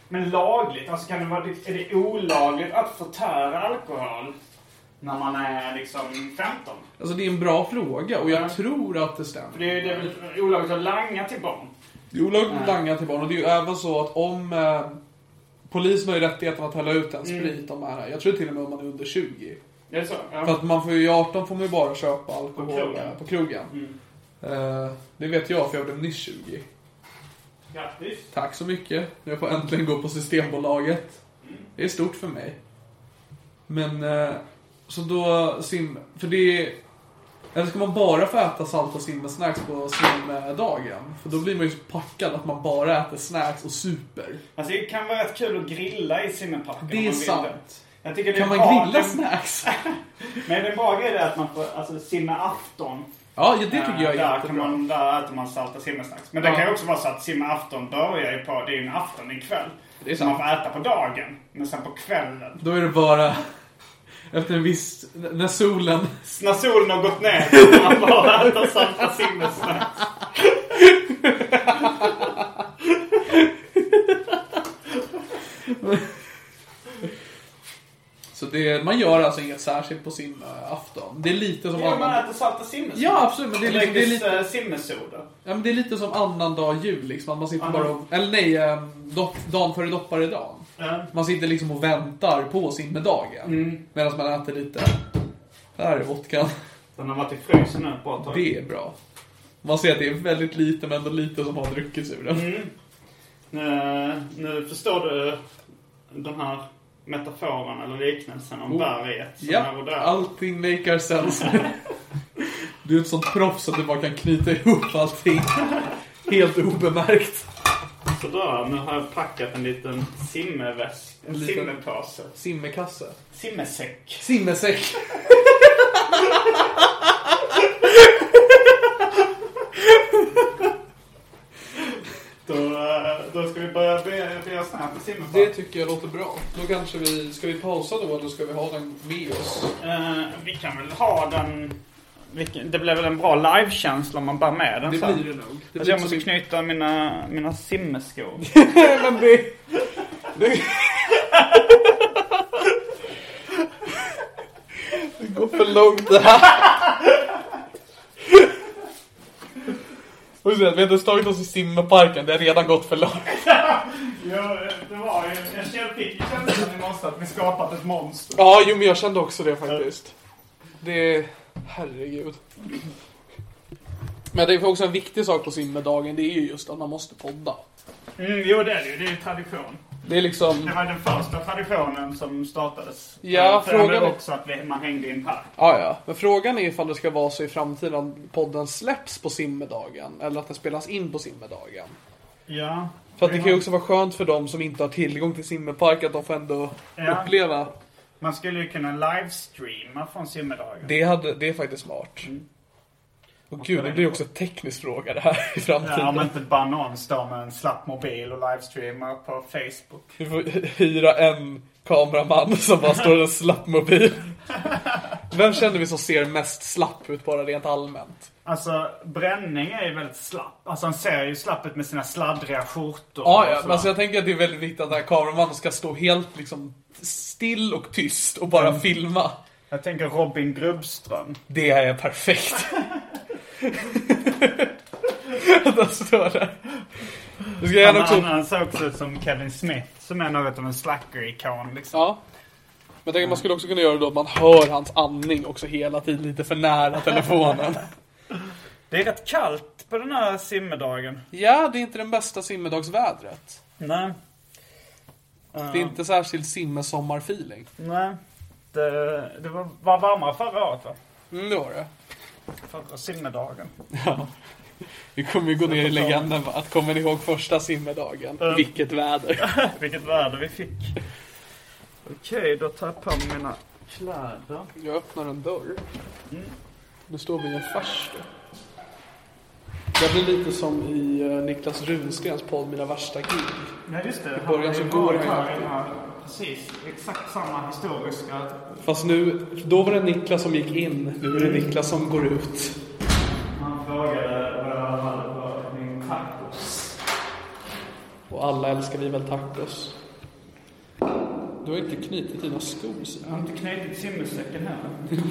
[SPEAKER 3] Men lagligt? Alltså kan det vara, är det olagligt att förtära alkohol när man är liksom 15?
[SPEAKER 2] Alltså det är en bra fråga och jag
[SPEAKER 3] Ja.
[SPEAKER 2] tror att det stämmer.
[SPEAKER 3] För det är, det är väl olagligt att langa till barn?
[SPEAKER 2] Det är olagligt att langa till barn och det är ju även så att om eh, polisen har ju rättigheten att hälla ut
[SPEAKER 3] Mm.
[SPEAKER 2] en sprit om man är, jag tror till och med om man är under 20.
[SPEAKER 3] Det är så? Ja.
[SPEAKER 2] För att man får ju, i 18 får man ju bara köpa alkohol
[SPEAKER 3] På krogen. Mm.
[SPEAKER 2] eh, På krogen. Eh, det vet jag för jag blev nyss 20.
[SPEAKER 3] Grattis!
[SPEAKER 2] Tack så mycket. Jag får äntligen gå på Systembolaget. Det är stort för mig. Men, eh, så då sim... För det är... Eller ska man bara få äta salta simmesnacks på simdagen? För då blir man ju så packad att man bara äter snacks och super.
[SPEAKER 3] Alltså det kan vara rätt kul att grilla i simmerparken.
[SPEAKER 2] Det
[SPEAKER 3] om
[SPEAKER 2] är
[SPEAKER 3] man vill
[SPEAKER 2] sant.
[SPEAKER 3] Jag tycker det
[SPEAKER 2] Kan
[SPEAKER 3] är
[SPEAKER 2] man
[SPEAKER 3] bra-
[SPEAKER 2] grilla
[SPEAKER 3] [laughs]
[SPEAKER 2] snacks?
[SPEAKER 3] Men det bra grejen är att man får alltså, simmeafton.
[SPEAKER 2] Ja, ja, det tycker jag
[SPEAKER 3] där
[SPEAKER 2] är
[SPEAKER 3] kan
[SPEAKER 2] jättebra.
[SPEAKER 3] man, Där äter man salta simmersnacks. Men det
[SPEAKER 2] Ja.
[SPEAKER 3] kan ju också vara så att simmeafton börjar ju på, det är ju en afton, det är en kväll.
[SPEAKER 2] Det är
[SPEAKER 3] så
[SPEAKER 2] sant.
[SPEAKER 3] man får äta på dagen, men sen på kvällen.
[SPEAKER 2] Då är det bara... [laughs] Efter en viss... När solen...
[SPEAKER 3] Så När solen har gått ner så [laughs] får man bara äta salta simmersnacks.
[SPEAKER 2] Så det, man gör alltså inget särskilt på simafton. Det är lite som
[SPEAKER 3] Ja, man
[SPEAKER 2] annan...
[SPEAKER 3] äter salta simmersnacks.
[SPEAKER 2] Ja, absolut. Men det är, liksom, det är lite...
[SPEAKER 3] lite... simmersoda.
[SPEAKER 2] Ja, men det är lite som annandag jul liksom. Att man sitter
[SPEAKER 3] Ja.
[SPEAKER 2] bara och, Eller nej, eh, dopp, dagen före dopparedagen.
[SPEAKER 3] Ja.
[SPEAKER 2] Man sitter liksom och väntar på simmedagen. Mm. Medan man äter lite... Här är vodkan.
[SPEAKER 3] Den har varit i frysen nu ett bra tag.
[SPEAKER 2] Det är bra. Man ser att det är väldigt lite, men ändå lite Mm, som har druckits ur den.
[SPEAKER 3] Nu, nu förstår du de här metaforen eller liknelsen om berget som här och
[SPEAKER 2] Oh. Ja,
[SPEAKER 3] där.
[SPEAKER 2] allting maker sense. Du är ett sånt proffs att du bara kan knyta ihop allting. Helt obemärkt. alltså.
[SPEAKER 3] Sådär, nu har jag packat en liten simmeväska. En
[SPEAKER 2] liten-
[SPEAKER 3] simmerpåse.
[SPEAKER 2] Simmekasse.
[SPEAKER 3] Simmersäck.
[SPEAKER 2] Simmesäck.
[SPEAKER 3] Då, eh, då ska vi börja be, be oss ner på simmerpåsen.
[SPEAKER 2] Det tycker jag låter bra. Då kanske vi... Ska vi pausa då eller ska vi ha den med oss?
[SPEAKER 3] Eh, vi kan väl ha den... vilken- Det blir väl en bra livekänsla om man bär med den
[SPEAKER 2] Det
[SPEAKER 3] sen.
[SPEAKER 2] blir det nog. Det
[SPEAKER 3] Alltså
[SPEAKER 2] blir
[SPEAKER 3] jag måste knyta mina, mina simmerskor.
[SPEAKER 2] [laughs] men det... det... det går för långt det här. Och sen, vi har inte ens tagit oss i simmeparken, det har redan gått för långt.
[SPEAKER 3] [laughs] Ja, det var ju... Jag kände- fick ju känslan i morse att vi skapat ett monster.
[SPEAKER 2] Ja, jo men jag kände också det faktiskt. Det... Herregud. Men det är också en viktig sak på simmedagen, det är ju just att man måste podda.
[SPEAKER 3] Mm, jo, det är det ju. Det är ju tradition.
[SPEAKER 2] Det är liksom...
[SPEAKER 3] Det var den första traditionen som startades.
[SPEAKER 2] Ja,
[SPEAKER 3] För det var
[SPEAKER 2] frågan är-
[SPEAKER 3] också att vi, man hängde i en park.
[SPEAKER 2] Ja, ja. Men frågan är ifall det ska vara så i framtiden att podden släpps på simmedagen eller att den spelas in på simmedagen.
[SPEAKER 3] Ja.
[SPEAKER 2] För att det kan ju också vara skönt för dem som inte har tillgång till simmepark att de får ändå
[SPEAKER 3] Ja.
[SPEAKER 2] uppleva.
[SPEAKER 3] Man skulle ju kunna livestreama från simmedagen.
[SPEAKER 2] Det, hade, det är faktiskt smart.
[SPEAKER 3] Mm.
[SPEAKER 2] Och gud, det blir ju också en teknisk fråga det här i framtiden.
[SPEAKER 3] Ja, om inte bara någon står med en slapp mobil och livestreamar på Facebook.
[SPEAKER 2] Vi får hyra en kameraman som bara står i en slapp mobil. Vem känner vi som ser mest slapp ut bara rent allmänt?
[SPEAKER 3] Alltså, bränning är ju väldigt slapp. Alltså han ser ju slapp ut med sina sladdriga skjortor.
[SPEAKER 2] Ja, ja,
[SPEAKER 3] och
[SPEAKER 2] men
[SPEAKER 3] så.
[SPEAKER 2] alltså jag tänker att det är väldigt viktigt att den här kameramannen ska stå helt liksom still och tyst och bara filma.
[SPEAKER 3] Jag tänker Robin Grubbström.
[SPEAKER 2] Det är perfekt. [laughs] Att han står där. Du ska
[SPEAKER 3] Han,
[SPEAKER 2] gärna
[SPEAKER 3] han,
[SPEAKER 2] också...
[SPEAKER 3] han ser också ut som Kevin Smith, som är något av en slacker-ikon liksom.
[SPEAKER 2] Ja. Men jag tänker att man skulle också kunna göra då att man hör hans andning också hela tiden lite för nära telefonen.
[SPEAKER 3] Det är rätt kallt på den här simmedagen.
[SPEAKER 2] Ja, det är inte den bästa simmedagsvädret.
[SPEAKER 3] Nej.
[SPEAKER 2] Det är inte särskilt simmesommarfeeling.
[SPEAKER 3] Nej. Det, det var, var varmare förra året va?
[SPEAKER 2] Mm, det var det.
[SPEAKER 3] Förra simmedagen.
[SPEAKER 2] Vi kommer ju gå ner i legenden va? Att kommer ni ihåg första simmedagen? Vilket väder.
[SPEAKER 3] Vilket väder vi fick. Okej, då tar jag på mig mina kläder.
[SPEAKER 2] Jag öppnar en dörr. Nu står vi i en farstu. Det blir lite som i eh, Niklas Runstens podd Mina värsta gig.
[SPEAKER 3] Nej just det. I
[SPEAKER 2] början så går han ju.
[SPEAKER 3] Precis, exakt samma historiska...
[SPEAKER 2] Fast nu, då var det Niklas som gick in. Nu är det Niklas som går ut.
[SPEAKER 3] Han frågade vad jag hade på min tacos.
[SPEAKER 2] Och alla älskar vi väl tacos. Du har inte knutit dina skor Simon.
[SPEAKER 3] Jag har inte knutit simmelsäcken heller.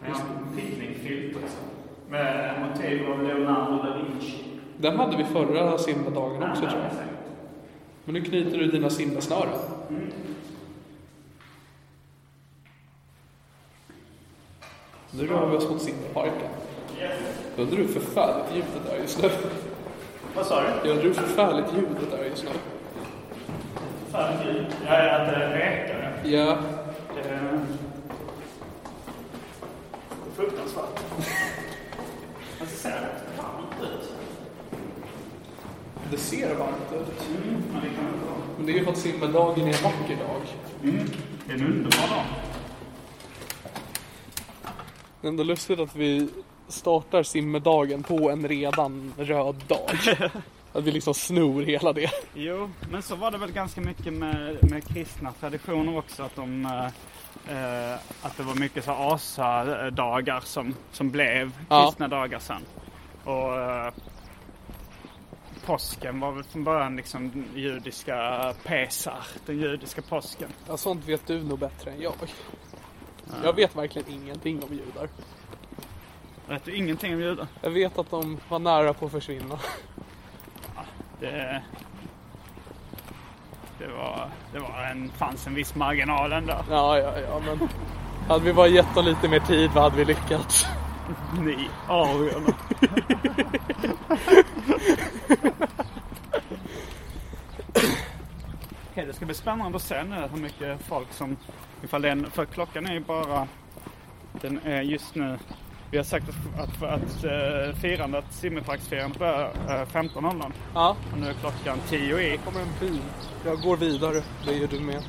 [SPEAKER 3] Men jag har en picknickfilt också. Med motiv av Leonardo da Vinci.
[SPEAKER 2] Den hade vi förra simmedagen också tror jag. Men nu knyter du dina simmesnören. Nu rör vi oss mot simparken. Hörde du hur förfärligt ljudet är just nu?
[SPEAKER 3] Vad sa du?
[SPEAKER 2] Jag undrar hur förfärligt ljudet är just nu.
[SPEAKER 3] Fan, gud. Jag är att det rekar.
[SPEAKER 2] Ja,
[SPEAKER 3] Det är fruktansvärt. Alltså, ser det varmt ut?
[SPEAKER 2] det ser varmt ut.
[SPEAKER 3] Mm, men det kan inte vara.
[SPEAKER 2] Men det är ju för att simmedagen är en vacker dag.
[SPEAKER 3] Det är en underbar dag.
[SPEAKER 2] Det är ändå lustigt att vi startar simmedagen på en redan röd dag. Att vi liksom snor hela det.
[SPEAKER 3] Jo, men så var det väl ganska mycket med, med kristna traditioner också. Att, de, eh, eh, att det var mycket så här asadagar som, som blev
[SPEAKER 2] Ja.
[SPEAKER 3] kristna dagar sen. Och eh, påsken var väl från början liksom den judiska pesar, den judiska påsken.
[SPEAKER 2] Ja, sånt vet du nog bättre än jag. Jag vet verkligen ingenting om judar.
[SPEAKER 3] Vet du ingenting om judar?
[SPEAKER 2] Jag vet att de var nära på att försvinna.
[SPEAKER 3] Det, det, var, det var en, fanns en viss marginal ändå.
[SPEAKER 2] Ja, ja, ja, men hade vi bara gett dem lite mer tid, vad hade vi lyckats?
[SPEAKER 3] Ni ariorna. Okej, det ska bli spännande att se nu hur mycket folk som... Ifall det är en, för klockan är ju bara... Den är just nu... Vi har sagt att, att, att eh, firandet, simmerparksfirandet börjar eh, 15.00.
[SPEAKER 2] Ja,
[SPEAKER 3] Och nu är klockan 10 i.
[SPEAKER 2] kommer en bil. Jag går vidare, det gör du med.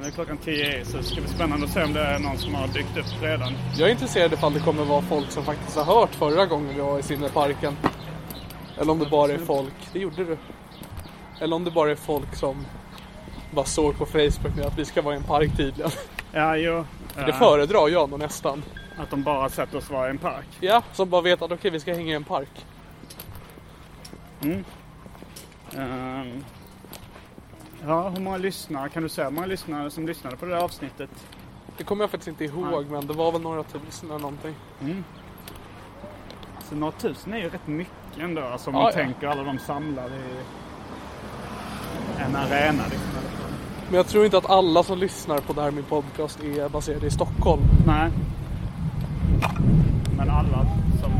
[SPEAKER 3] Nu är klockan 10 i så det ska bli spännande att se om det är någon som har dykt upp redan.
[SPEAKER 2] Jag är intresserad ifall det kommer vara folk som faktiskt har hört förra gången vi var i simmeparken. Eller om det bara är folk, det gjorde du. Eller om det bara är folk som bara såg på Facebook nu att vi ska vara i en park tydligen.
[SPEAKER 3] Ja, jo.
[SPEAKER 2] Det
[SPEAKER 3] Eh,
[SPEAKER 2] föredrar jag nog nästan.
[SPEAKER 3] Att de bara sett oss vara i en park.
[SPEAKER 2] Ja, som bara vet att okej, vi ska hänga i en park.
[SPEAKER 3] Ehm, ja, hur många lyssnare kan du säga? Hur många lyssnare som lyssnade på det här avsnittet?
[SPEAKER 2] Det kommer jag faktiskt inte ihåg, men det var väl några tusen eller någonting.
[SPEAKER 3] Så Alltså, några tusen är ju rätt mycket ändå. Alltså om
[SPEAKER 2] Ja,
[SPEAKER 3] man
[SPEAKER 2] ja.
[SPEAKER 3] tänker alla de samlade i en arena. Liksom.
[SPEAKER 2] Men jag tror inte att alla som lyssnar på det här min podcast är baserade i Stockholm.
[SPEAKER 3] Nej. Men alla som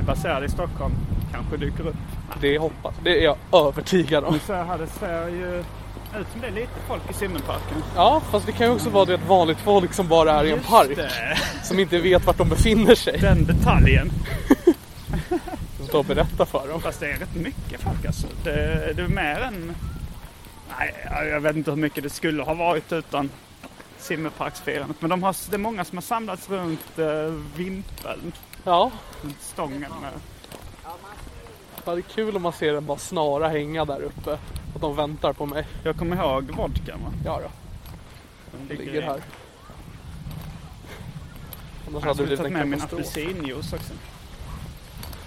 [SPEAKER 3] är baserade i Stockholm kanske dyker upp.
[SPEAKER 2] Det hoppas Det är jag övertygad om.
[SPEAKER 3] Så här, det ser ju ut som det är lite folk i simmerparken.
[SPEAKER 2] Ja, fast det kan ju också vara det att vanligt folk som bara är i en
[SPEAKER 3] Just
[SPEAKER 2] park.
[SPEAKER 3] det.
[SPEAKER 2] Som inte vet vart de befinner sig.
[SPEAKER 3] Den detaljen.
[SPEAKER 2] Som tar och berätta för dem.
[SPEAKER 3] Fast det är rätt mycket folk alltså. Det, det är mer än... Nej, jag- jag vet inte hur mycket det skulle ha varit utan simmerparksfirandet. Men de har, det är många som har samlats runt eh, vimpeln,
[SPEAKER 2] Ja,
[SPEAKER 3] runt stången. Med.
[SPEAKER 2] det är kul om man ser en bara snara hänga där uppe. Att de väntar på mig.
[SPEAKER 3] Jag kommer ihåg vodkan va?
[SPEAKER 2] Ja då,
[SPEAKER 3] Den
[SPEAKER 2] det ligger här. Annars hade
[SPEAKER 3] Jag
[SPEAKER 2] det
[SPEAKER 3] skulle
[SPEAKER 2] blivit
[SPEAKER 3] tagit
[SPEAKER 2] en
[SPEAKER 3] med min
[SPEAKER 2] katastrof.
[SPEAKER 3] apelsinjuice också.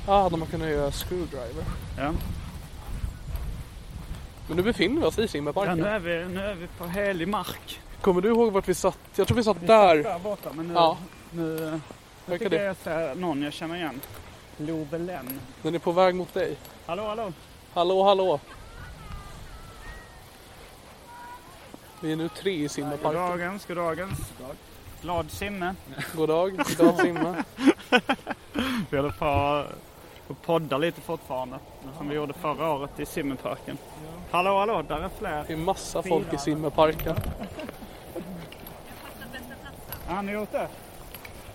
[SPEAKER 2] Ja, hade man kunnat göra screwdriver.
[SPEAKER 3] Ja.
[SPEAKER 2] Men nu befinner vi oss i
[SPEAKER 3] Ja,
[SPEAKER 2] Simmerparken.
[SPEAKER 3] nu, är vi, nu är vi på helig mark.
[SPEAKER 2] Kommer du ihåg vart vi satt? Jag tror vi satt där.
[SPEAKER 3] Där borta, men nu,
[SPEAKER 2] Ja,
[SPEAKER 3] nu nu
[SPEAKER 2] verkar
[SPEAKER 3] tycker jag
[SPEAKER 2] det.
[SPEAKER 3] jag ser någon jag känner igen. Love Len.
[SPEAKER 2] Den är på väg mot dig.
[SPEAKER 3] Hallå, hallå.
[SPEAKER 2] Hallå, hallå. Vi är nu tre i Simmerparken.
[SPEAKER 3] Goddagens, goddagens. Glad simme.
[SPEAKER 2] God dag, idag simma.
[SPEAKER 3] Vi håller på och poddar lite fortfarande. Som vi gjorde förra året i simmeparken. Hallå, hallå, där är fler.
[SPEAKER 2] Det är massa folk i Simmerparken.
[SPEAKER 3] Ja, har ni gjort det?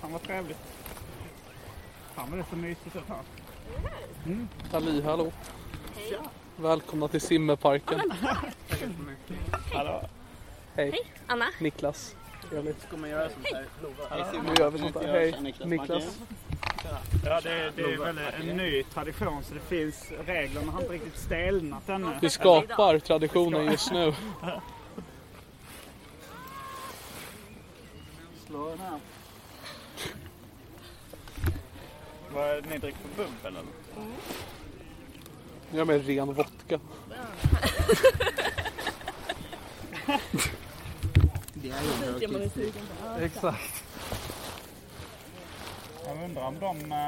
[SPEAKER 3] Fan vad trevligt. Fan vad det är så mysigt att ha.
[SPEAKER 2] Ali, hallå. Välkomna till Simmerparken.
[SPEAKER 3] Hallå.
[SPEAKER 2] Hej.
[SPEAKER 4] Anna.
[SPEAKER 2] Niklas. Trevligt. Ska man göra sånt här? Hej. Nu gör vi sånt här. Hej. Niklas.
[SPEAKER 3] Ja, det, är- det är väl en ny tradition så det finns regler. Man har inte riktigt stelnat ännu.
[SPEAKER 2] Vi skapar traditionen just nu.
[SPEAKER 3] Slå den här. Vad är det ni dricker för bubbel eller?
[SPEAKER 2] Nu gör jag med ren vodka. Exakt.
[SPEAKER 3] Jag undrar om de eh,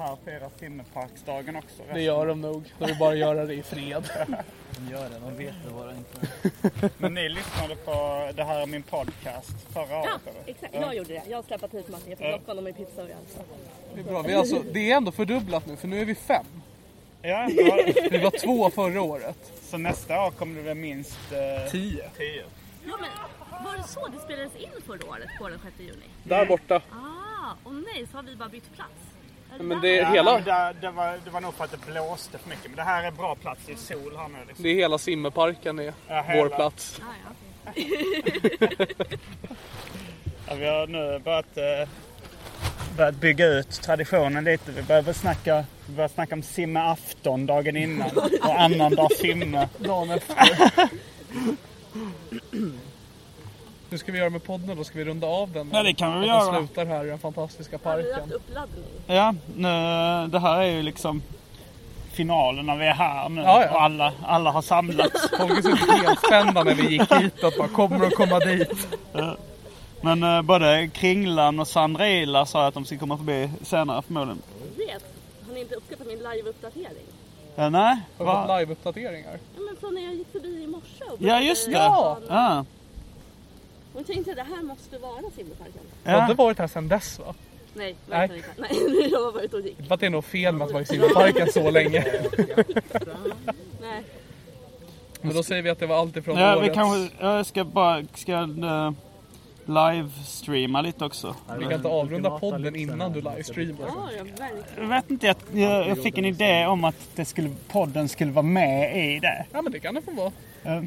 [SPEAKER 3] här firar simmerparksdagen också.
[SPEAKER 2] Det gör de nog. De vill bara göra det i fred.
[SPEAKER 3] Men ni lyssnade på det här är min podcast förra året
[SPEAKER 4] Ja,
[SPEAKER 3] eller?
[SPEAKER 4] exakt. Jag gjorde det. Jag har släpat hit Martin. Jag fick locka honom med pizza och öl. så.
[SPEAKER 2] Det är, bra. Vi är alltså, det är ändå fördubblat nu, för nu är vi fem. [laughs]
[SPEAKER 3] Ja, ja.
[SPEAKER 2] Vi var två förra året.
[SPEAKER 3] Så nästa år kommer det bli minst eh,
[SPEAKER 2] Tio.
[SPEAKER 3] tio.
[SPEAKER 4] Ja, men var det så det spelades in förra året på den 6 juni?
[SPEAKER 2] Där borta.
[SPEAKER 4] Ah, och nej, så har vi bara bytt plats. Är
[SPEAKER 2] Men
[SPEAKER 4] där?
[SPEAKER 2] det är
[SPEAKER 3] Ja,
[SPEAKER 2] Eh, hela,
[SPEAKER 3] men Det, det, var, det var nog för att det blåste för mycket. Men det här är bra plats. Det är sol här nu. Liksom.
[SPEAKER 2] det är hela simmerparken är
[SPEAKER 3] Ja, hela.
[SPEAKER 2] vår plats.
[SPEAKER 4] Ah, ja, okej.
[SPEAKER 3] Ja, vi har nu börjat, eh, börjat bygga ut traditionen lite. Vi började snacka, vi började snacka om simmeafton dagen innan och annandag simme.
[SPEAKER 2] Dagen
[SPEAKER 3] [laughs]
[SPEAKER 2] efter. Hur ska vi göra med podden då? Ska vi runda av den?
[SPEAKER 3] Ja, det kan vi
[SPEAKER 2] Att
[SPEAKER 3] göra.
[SPEAKER 2] den slutar här i den fantastiska
[SPEAKER 4] Har vi haft
[SPEAKER 2] parken.
[SPEAKER 4] uppladdning?
[SPEAKER 3] Ja, nu, det här är ju liksom finalen när vi är här nu
[SPEAKER 2] Ja, ja.
[SPEAKER 3] och alla, alla har samlats.
[SPEAKER 2] Folk är så helt spända när vi gick hit att bara kommer och komma dit.
[SPEAKER 3] Men eh, både Kringlan och Sandra Ila sa att de ska komma förbi senare förmodligen.
[SPEAKER 4] Vet, har ni inte uppskattat min live-uppdatering?
[SPEAKER 3] Ja, Eh, nej,
[SPEAKER 2] Har vi fått
[SPEAKER 3] va?
[SPEAKER 2] live-uppdateringar?
[SPEAKER 4] Ja, men från när jag gick förbi i morse och
[SPEAKER 3] Ja, just det.
[SPEAKER 2] Ja.
[SPEAKER 3] Ja.
[SPEAKER 4] Och tänkte det här måste vara simmerparken.
[SPEAKER 2] Du har
[SPEAKER 3] Ja.
[SPEAKER 2] inte varit här sedan dess va?
[SPEAKER 4] Nej, verkligen inte. Nej, [laughs] jag har varit och gick.
[SPEAKER 2] För att det är nog fel med att vara i simmerparken så länge.
[SPEAKER 4] Nej.
[SPEAKER 2] Men då säger vi att det var allt ifrån
[SPEAKER 3] Ja, vi
[SPEAKER 2] årets.
[SPEAKER 3] kanske, jag ska bara ska, eh, livestreama lite också.
[SPEAKER 2] Vi kan inte avrunda podden innan du livestreamar.
[SPEAKER 4] Ja, ja, verkligen.
[SPEAKER 3] Jag vet inte, jag, jag, jag fick en idé om att det skulle, podden skulle vara med i det.
[SPEAKER 2] Ja men det kan det få vara.
[SPEAKER 3] Eh,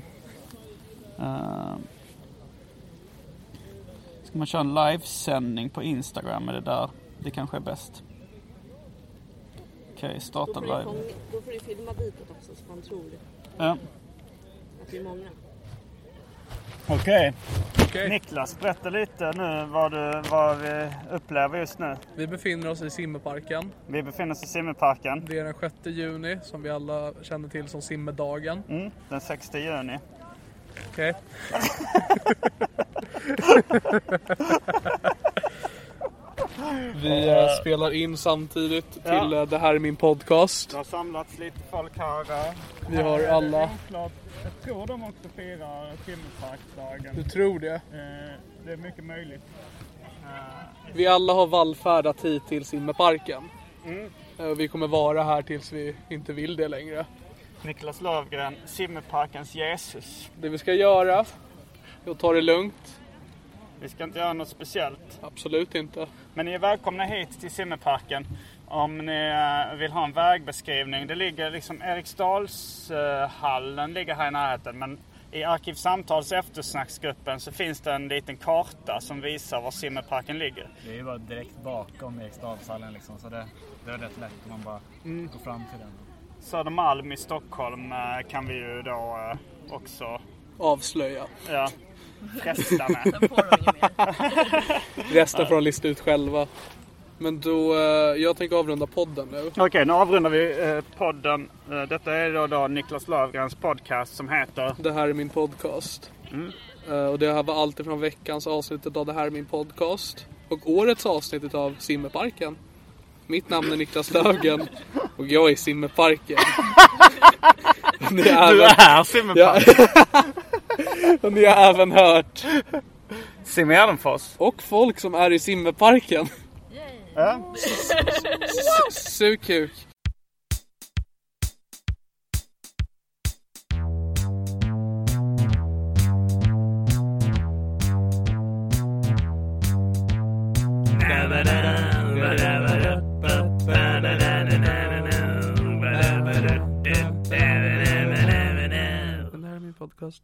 [SPEAKER 3] ska man köra en livesändning på Instagram? Är det där det kanske är bäst? Okej,
[SPEAKER 4] Då
[SPEAKER 3] starta
[SPEAKER 4] får, du
[SPEAKER 3] live.
[SPEAKER 4] fånga, då får du filma bitet också så man tror
[SPEAKER 3] Ja.
[SPEAKER 4] att vi är många.
[SPEAKER 3] Okej.
[SPEAKER 2] Okej.
[SPEAKER 3] Niklas, berätta lite nu vad, du, vad vi upplever just nu.
[SPEAKER 2] Vi befinner oss i simmerparken.
[SPEAKER 3] Vi befinner oss i simmerparken
[SPEAKER 2] Det är den 6 juni som vi alla känner till som simmedagen.
[SPEAKER 3] mm, den 6 juni.
[SPEAKER 2] Okej. Vi eh, spelar in samtidigt till
[SPEAKER 3] Ja.
[SPEAKER 2] eh, Det här är min podcast.
[SPEAKER 3] Det har samlats lite folk här. eh.
[SPEAKER 2] Vi har
[SPEAKER 3] Här är det
[SPEAKER 2] alla-
[SPEAKER 3] oklart. Jag tror de också firar simmerparksdagen.
[SPEAKER 2] Du tror det?
[SPEAKER 3] Eh, Det är mycket möjligt. Eh,
[SPEAKER 2] Vi alla har vallfärdat hit till simmerparken. Eh, och Vi kommer vara här tills vi inte vill det längre.
[SPEAKER 3] Niklas Lövgren, simmerparkens Jesus.
[SPEAKER 2] Det vi ska göra är att ta det lugnt.
[SPEAKER 3] Vi ska inte göra något speciellt.
[SPEAKER 2] Absolut inte.
[SPEAKER 3] Men ni är välkomna hit till simmerparken om ni eh, vill ha en vägbeskrivning. Det ligger liksom Eriksdalshallen ligger här i närheten. Men i Arkivsamtals eftersnacksgruppen så finns det en liten karta som visar var simmerparken ligger.
[SPEAKER 5] Det är ju bara direkt bakom Eriksdalshallen liksom så det, det är rätt lätt om man bara går fram till den.
[SPEAKER 3] Mm. Södermalm i Stockholm eh, kan vi ju då eh, också
[SPEAKER 2] Avslöja.
[SPEAKER 3] ja, fresta med.
[SPEAKER 6] Sen får de ju mer.
[SPEAKER 2] Resten får de lista ut själva. Men då, eh, jag tänker avrunda podden nu.
[SPEAKER 3] Okej, nu avrundar vi eh, podden. Eh, detta är då, då Niklas Löfgrens podcast som heter...
[SPEAKER 2] Det här är min podcast. Eh, och det här var allt ifrån veckans avsnitt av Det här är min podcast. Och årets avsnitt av Simmerparken. Mitt namn är Niklas Löfgren och jag är
[SPEAKER 3] [laughs]
[SPEAKER 2] Simmerparken. Ni har
[SPEAKER 3] Du
[SPEAKER 2] även,
[SPEAKER 3] är Simon
[SPEAKER 2] Ja. [laughs]
[SPEAKER 3] ja.
[SPEAKER 2] och ni har även hört.
[SPEAKER 3] Simon Gärdenfors.
[SPEAKER 2] Och folk som är i Simmerparken.
[SPEAKER 3] Ja.
[SPEAKER 2] Sug kuk. Det här är min podcast.